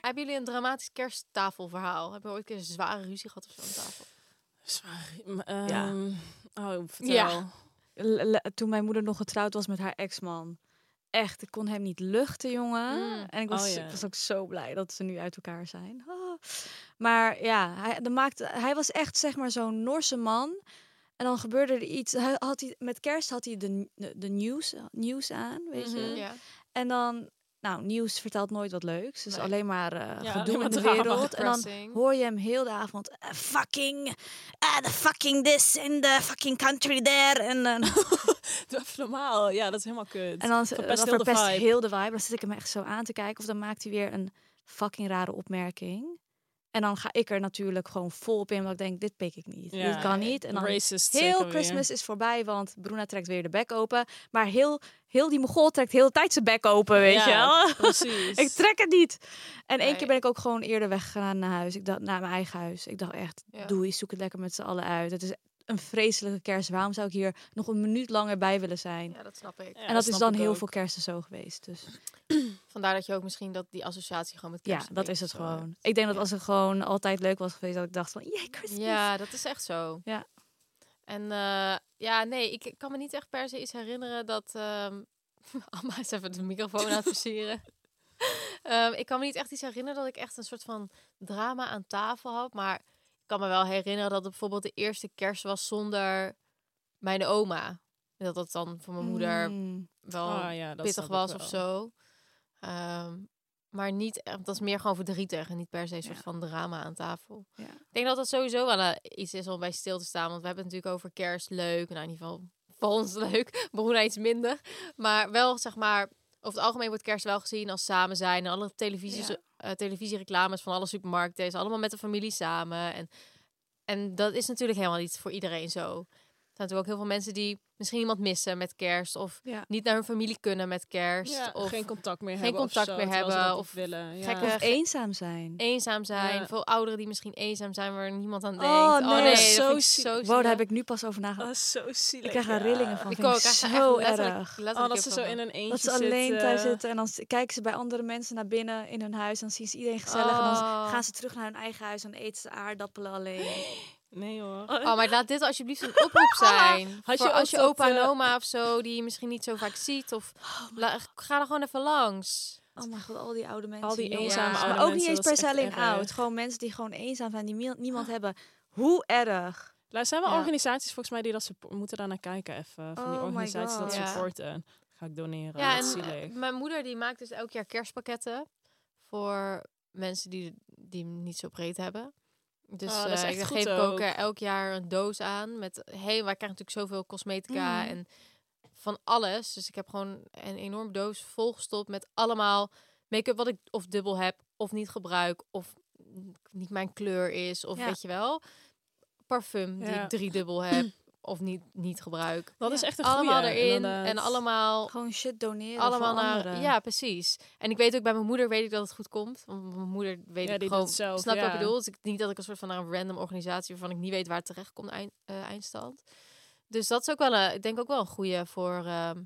Speaker 2: Hebben jullie een dramatisch kersttafelverhaal? Hebben we ooit een keer een zware ruzie gehad op zo'n tafel?
Speaker 1: Zwaar.
Speaker 3: Ja.
Speaker 1: ja. Oh, vertel.
Speaker 2: Ja.
Speaker 3: Le- le- toen mijn moeder nog getrouwd was met haar ex-man. Echt, ik kon hem niet luchten, jongen.
Speaker 2: Mm.
Speaker 3: En ik was,
Speaker 1: Oh, ja.
Speaker 3: ik was ook zo blij dat ze nu uit elkaar zijn. Ah. Maar ja, hij, dat maakte, hij was echt zeg maar zo'n Noorse man. En dan gebeurde er iets. Hij had hij, met kerst had hij de, de, de nieuws, nieuws aan, weet je.
Speaker 1: Mhm.
Speaker 2: Ja.
Speaker 3: En dan, nou, nieuws vertelt nooit wat leuks. Dus
Speaker 2: Nee.
Speaker 3: alleen maar eh
Speaker 1: Ja,
Speaker 3: gedoe
Speaker 1: <laughs> alleen maar
Speaker 3: in de
Speaker 1: drama.
Speaker 3: wereld. En dan
Speaker 2: Depressing.
Speaker 3: hoor je hem heel de avond eh, fucking, eh, the fucking this in the fucking country there.
Speaker 1: <laughs>
Speaker 3: En dan-
Speaker 1: <laughs> Doe even normaal. Ja, dat is helemaal kut.
Speaker 3: en dan
Speaker 1: Verpest
Speaker 3: verpest,
Speaker 1: heel de
Speaker 3: verpest
Speaker 1: vibe.
Speaker 3: heel de vibe. Dan zit ik hem echt zo aan te kijken. Of dan maakt hij weer een fucking rare opmerking. En dan ga ik er natuurlijk gewoon vol op in. Want ik denk, dit pik ik niet.
Speaker 1: Ja.
Speaker 3: Dit kan niet. En dan
Speaker 1: Racist
Speaker 3: heel
Speaker 1: zeker weer.
Speaker 3: Christmas is voorbij. Want Bruna trekt weer de bek open. Maar heel, heel die mogol trekt heel de tijd zijn bek open. Weet
Speaker 1: Ja,
Speaker 3: je wel?
Speaker 1: Precies.
Speaker 3: <laughs> Ik trek het niet. En één
Speaker 2: Dus Nee.
Speaker 3: keer ben ik ook gewoon eerder weggegaan naar huis. Ik dacht naar mijn eigen huis. Ik dacht echt,
Speaker 2: Ja.
Speaker 3: doei, zoek het lekker met z'n allen uit. Het is een vreselijke kerst. Waarom zou ik hier nog een minuut langer bij willen zijn?
Speaker 2: ja, dat snap ik.
Speaker 1: Ja,
Speaker 3: en dat is
Speaker 1: snap
Speaker 3: dan
Speaker 1: ik
Speaker 3: heel
Speaker 1: ook.
Speaker 3: veel kersten zo geweest. Dus
Speaker 2: Vandaar dat je ook misschien dat die associatie gewoon met kerst
Speaker 3: ja,
Speaker 2: een
Speaker 3: dat is
Speaker 2: beetje
Speaker 3: het
Speaker 2: zo
Speaker 3: gewoon.
Speaker 2: hebt.
Speaker 3: Ik denk dat als het gewoon altijd leuk was geweest, dat ik dacht van, jee, Christmas.
Speaker 2: Ja, dat is echt zo.
Speaker 3: Ja.
Speaker 2: En eh, ja, nee, ik kan me niet echt per se iets herinneren dat... ehm <laughs> Amma is even de microfoon aan het
Speaker 3: <laughs>
Speaker 2: versieren. Ehm, ik kan me niet echt iets herinneren dat ik echt een soort van drama aan tafel had. Maar ik kan me wel herinneren dat het bijvoorbeeld de eerste kerst was zonder mijn oma. En dat dat dan voor mijn moeder
Speaker 3: Mm.
Speaker 2: wel
Speaker 1: Ah, ja, dat
Speaker 2: pittig
Speaker 1: snap ik
Speaker 2: was
Speaker 1: wel.
Speaker 2: of zo. Ehm, maar niet, echt- dat is meer gewoon verdrietig en niet per se een soort
Speaker 3: Ja.
Speaker 2: van drama aan tafel.
Speaker 3: Ja.
Speaker 2: Ik denk dat dat sowieso wel eh, iets is om bij stil te staan. Want we hebben het natuurlijk over kerst leuk. Nou, in ieder geval <laughs> voor ons leuk. Bruna iets minder. Maar wel, zeg maar, over het algemeen wordt kerst wel gezien als samen zijn. En alle televisies,
Speaker 3: Ja.
Speaker 2: eh, televisiereclames van alle supermarkten is allemaal met de familie samen. En, en dat is natuurlijk helemaal niet voor iedereen zo. zijn natuurlijk ook heel veel mensen die misschien iemand missen met kerst. Of
Speaker 3: Ja.
Speaker 2: niet naar hun familie kunnen met kerst.
Speaker 1: Ja,
Speaker 2: of
Speaker 1: geen contact meer
Speaker 2: geen
Speaker 1: hebben. of
Speaker 2: contact
Speaker 1: zo,
Speaker 2: meer
Speaker 1: terwijl ze
Speaker 2: hebben
Speaker 1: dat
Speaker 2: of
Speaker 1: willen. Ja.
Speaker 2: gekke-
Speaker 3: Of eenzaam zijn.
Speaker 2: eenzaam zijn.
Speaker 1: Ja.
Speaker 2: Veel ouderen die misschien eenzaam zijn waar niemand aan denkt.
Speaker 3: Oh,
Speaker 2: oh,
Speaker 3: nee,
Speaker 2: nee dat
Speaker 1: zo
Speaker 2: vind ik
Speaker 1: ziek.
Speaker 2: zo
Speaker 3: Wow, daar
Speaker 2: zielig.
Speaker 3: heb ik nu pas over nagedacht.
Speaker 1: Ah, zo zielig.
Speaker 3: ik krijg er
Speaker 1: ja.
Speaker 3: rillingen van.
Speaker 2: Oh, Ik
Speaker 3: vind
Speaker 2: ook,
Speaker 3: ik
Speaker 2: echt
Speaker 3: zo
Speaker 2: letterlijk-
Speaker 3: erg.
Speaker 2: letterlijk
Speaker 1: Oh, dat ze zo
Speaker 2: heel
Speaker 1: in
Speaker 2: veel.
Speaker 1: een eentje eh,
Speaker 3: Dat ze alleen
Speaker 1: zitten.
Speaker 3: thuis zitten en dan s- kijken ze bij andere mensen naar binnen in hun huis. Dan zien ze iedereen gezellig en dan s-
Speaker 2: Oh.
Speaker 3: gaan ze terug naar hun eigen huis en eten ze aardappelen alleen.
Speaker 1: Nee hoor.
Speaker 2: Oh, maar laat dit
Speaker 1: <laughs>
Speaker 2: alsjeblieft een oproep zijn.
Speaker 1: Had je
Speaker 2: Voor als
Speaker 1: ook
Speaker 2: je
Speaker 1: dat,
Speaker 2: opa en
Speaker 1: eh, Oh,
Speaker 2: oma of zo, die je misschien niet zo vaak ziet. Of la- ga er gewoon even langs.
Speaker 3: Oh mijn god, al die oude mensen.
Speaker 1: Al die
Speaker 3: jongens.
Speaker 1: eenzame
Speaker 2: Ja.
Speaker 1: oude
Speaker 3: Maar ook niet
Speaker 1: mensen,
Speaker 3: eens
Speaker 1: dat is
Speaker 3: per se
Speaker 1: echt
Speaker 3: alleen
Speaker 1: erg. Ah.
Speaker 3: oud. Gewoon mensen die gewoon eenzaam zijn, die mie- niemand hebben. Hoe erg.
Speaker 1: Er zijn wel
Speaker 2: Ja.
Speaker 1: organisaties volgens mij die dat suppo- we moeten daar naar kijken even. Van die
Speaker 3: Oh my
Speaker 1: organisaties dat
Speaker 3: God.
Speaker 2: Ja.
Speaker 1: supporten. Ga ik doneren.
Speaker 2: Ja,
Speaker 1: dat is
Speaker 2: en
Speaker 1: Oh, zielig.
Speaker 2: eh, mijn moeder die maakt dus elk jaar kerstpakketten voor mensen die, die hem niet zo breed hebben. Dus
Speaker 1: Oh, dat is
Speaker 2: eh,
Speaker 1: echt
Speaker 2: ik
Speaker 1: goed
Speaker 2: geef ik ook
Speaker 1: ook.
Speaker 2: eh, elk jaar een doos aan met hey, wij krijgen natuurlijk zoveel cosmetica
Speaker 1: Mm.
Speaker 3: Mhm.
Speaker 2: en van alles. Dus ik heb gewoon een enorm doos volgestopt met allemaal make-up wat ik of dubbel heb of niet gebruik of n- niet mijn kleur is of
Speaker 3: Ja.
Speaker 2: weet je wel parfum die
Speaker 1: Ja.
Speaker 2: ik drie dubbel heb of niet niet gebruik.
Speaker 1: dat is echt een
Speaker 2: allemaal
Speaker 1: goeie, eh,
Speaker 2: erin
Speaker 1: inderdaad.
Speaker 2: en allemaal
Speaker 3: Gewoon shit doneren
Speaker 2: allemaal
Speaker 3: voor
Speaker 2: naar.
Speaker 3: anderen.
Speaker 2: Ja, precies. En ik weet ook bij mijn moeder weet ik dat het goed komt. Want mijn moeder weet
Speaker 1: Ja,
Speaker 2: ik
Speaker 1: die
Speaker 2: gewoon.
Speaker 1: doet het zelf,
Speaker 2: snap je wat
Speaker 1: ja.
Speaker 2: ik bedoel? Dus ik, niet dat ik een soort van naar een random organisatie waarvan ik niet weet waar het terecht komt eind, eh, eindstand. Dus dat is ook wel een, ik denk ook wel een goede voor. ehm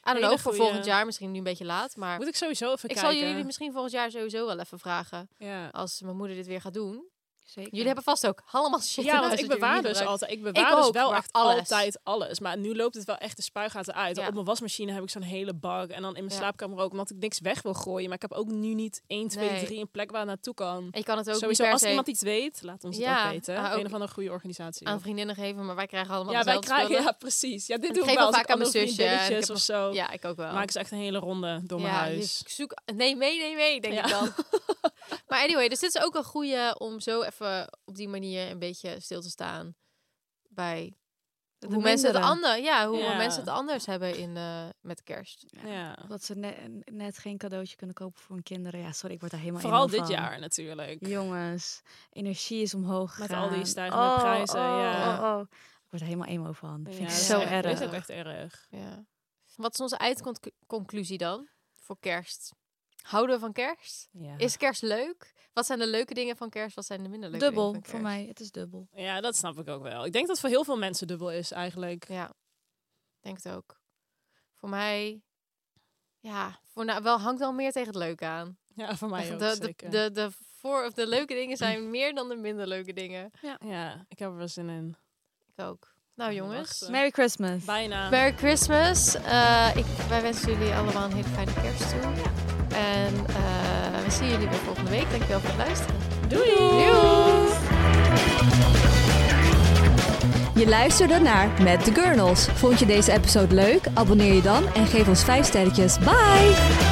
Speaker 2: I don't
Speaker 1: Hele
Speaker 2: know, voor
Speaker 1: goeie.
Speaker 2: volgend jaar misschien nu een beetje laat, maar
Speaker 1: Moet ik sowieso even
Speaker 2: ik zal
Speaker 1: kijken.
Speaker 2: jullie misschien volgend jaar sowieso wel even vragen
Speaker 1: Ja.
Speaker 2: als mijn moeder dit weer gaat doen.
Speaker 3: Zeker.
Speaker 2: Jullie hebben vast ook allemaal shit. in
Speaker 1: Ja, want ik
Speaker 2: huis dat jullie
Speaker 1: bewaar
Speaker 2: niet
Speaker 1: dus
Speaker 2: gebruiken.
Speaker 1: altijd. Ik bewaar dus
Speaker 2: ook,
Speaker 1: wel
Speaker 2: maar
Speaker 1: echt
Speaker 2: alles.
Speaker 1: altijd alles. Maar nu loopt het wel echt de spuigaten uit.
Speaker 2: Ja.
Speaker 1: Op mijn wasmachine heb ik zo'n hele bak. En dan in mijn
Speaker 2: Ja.
Speaker 1: slaapkamer ook, omdat ik niks weg wil gooien. Maar ik heb ook nu niet 1, 2,
Speaker 2: Nee.
Speaker 1: 3 een plek waar het naartoe kan.
Speaker 2: En je kan het ook niet
Speaker 1: Sowieso,
Speaker 2: per
Speaker 1: als
Speaker 2: se
Speaker 1: iemand iets weet, laat ons het
Speaker 2: Ja,
Speaker 1: ook weten.
Speaker 2: maar ook
Speaker 1: een of andere goede organisatie.
Speaker 2: aan vriendinnen geven, maar wij krijgen allemaal
Speaker 1: ja, wij
Speaker 2: dezelfde
Speaker 1: krijgen,
Speaker 2: spullen.
Speaker 1: ja, precies. Ja, dit
Speaker 2: Ik
Speaker 1: doe ik
Speaker 2: geef
Speaker 1: wel
Speaker 2: ook
Speaker 1: als
Speaker 2: vaak
Speaker 1: ik
Speaker 2: aan mijn
Speaker 1: andere
Speaker 2: zusje en ik
Speaker 1: vriendinnetjes
Speaker 2: heb
Speaker 1: of zo.
Speaker 2: Ja, ik ook wel.
Speaker 1: Maken ze echt een hele ronde door mijn
Speaker 2: ja,
Speaker 1: huis.
Speaker 2: dus ik zoek... Nee, mee, nee, mee, denk
Speaker 1: Ja.
Speaker 2: ik
Speaker 1: <laughs>
Speaker 2: dan. maar anyway, dus dit is ook een goede om zo even op die manier een beetje stil te staan bij
Speaker 3: De
Speaker 2: hoe mensen het,
Speaker 3: minderen.
Speaker 2: ander, ja, hoe
Speaker 1: Ja.
Speaker 2: mensen het anders hebben in, eh, met kerst.
Speaker 1: Ja.
Speaker 3: Dat ze ne- net geen cadeautje kunnen kopen voor hun kinderen. Ja, sorry, ik word daar helemaal
Speaker 1: Vooral
Speaker 3: eenmaal
Speaker 1: dit
Speaker 3: van.
Speaker 1: jaar natuurlijk.
Speaker 3: Jongens, energie is omhoog
Speaker 1: Met
Speaker 3: gegaan.
Speaker 1: al die stijgende prijzen, ja.
Speaker 3: Oh, oh. Ik word er helemaal emo van. Dat
Speaker 1: Ja,
Speaker 3: vind ik
Speaker 1: dat is
Speaker 3: zo
Speaker 1: echt-
Speaker 3: erg.
Speaker 1: Is ook echt erg.
Speaker 2: Ja. Wat is onze eindconclusie dan voor kerst? Houden we van kerst?
Speaker 1: Ja.
Speaker 2: Is kerst leuk? Wat zijn de leuke dingen van kerst? Wat zijn de minder leuke
Speaker 3: Dubbel,
Speaker 2: dingen van
Speaker 3: voor
Speaker 2: kerst?
Speaker 3: mij. Het is dubbel.
Speaker 1: ja, dat snap ik ook wel. Ik denk dat voor heel veel mensen dubbel is eigenlijk.
Speaker 2: Ja, ik denk het ook. Voor mij, ja, voor nou, wel hangt wel meer tegen het leuk aan.
Speaker 1: Ja, voor mij
Speaker 2: Echt,
Speaker 1: ook
Speaker 2: de, de,
Speaker 1: zeker.
Speaker 2: de, de voor of de leuke dingen zijn meer dan de minder leuke dingen.
Speaker 1: Ja, ik heb er wel zin in.
Speaker 2: Ik ook. Nou
Speaker 1: Ja,
Speaker 2: jongens,
Speaker 1: wachten.
Speaker 3: Merry Christmas.
Speaker 1: Bijna.
Speaker 2: Merry Christmas. Eh, ik, wij wensen jullie allemaal een hele fijne kerst toe. En eh, we zien jullie weer volgende week. Dankjewel voor het luisteren. Doei.
Speaker 7: Je luisterde naar Met de Gurnels. Vond je deze episode leuk? Abonneer je dan en geef ons 5 sterretjes. Bye!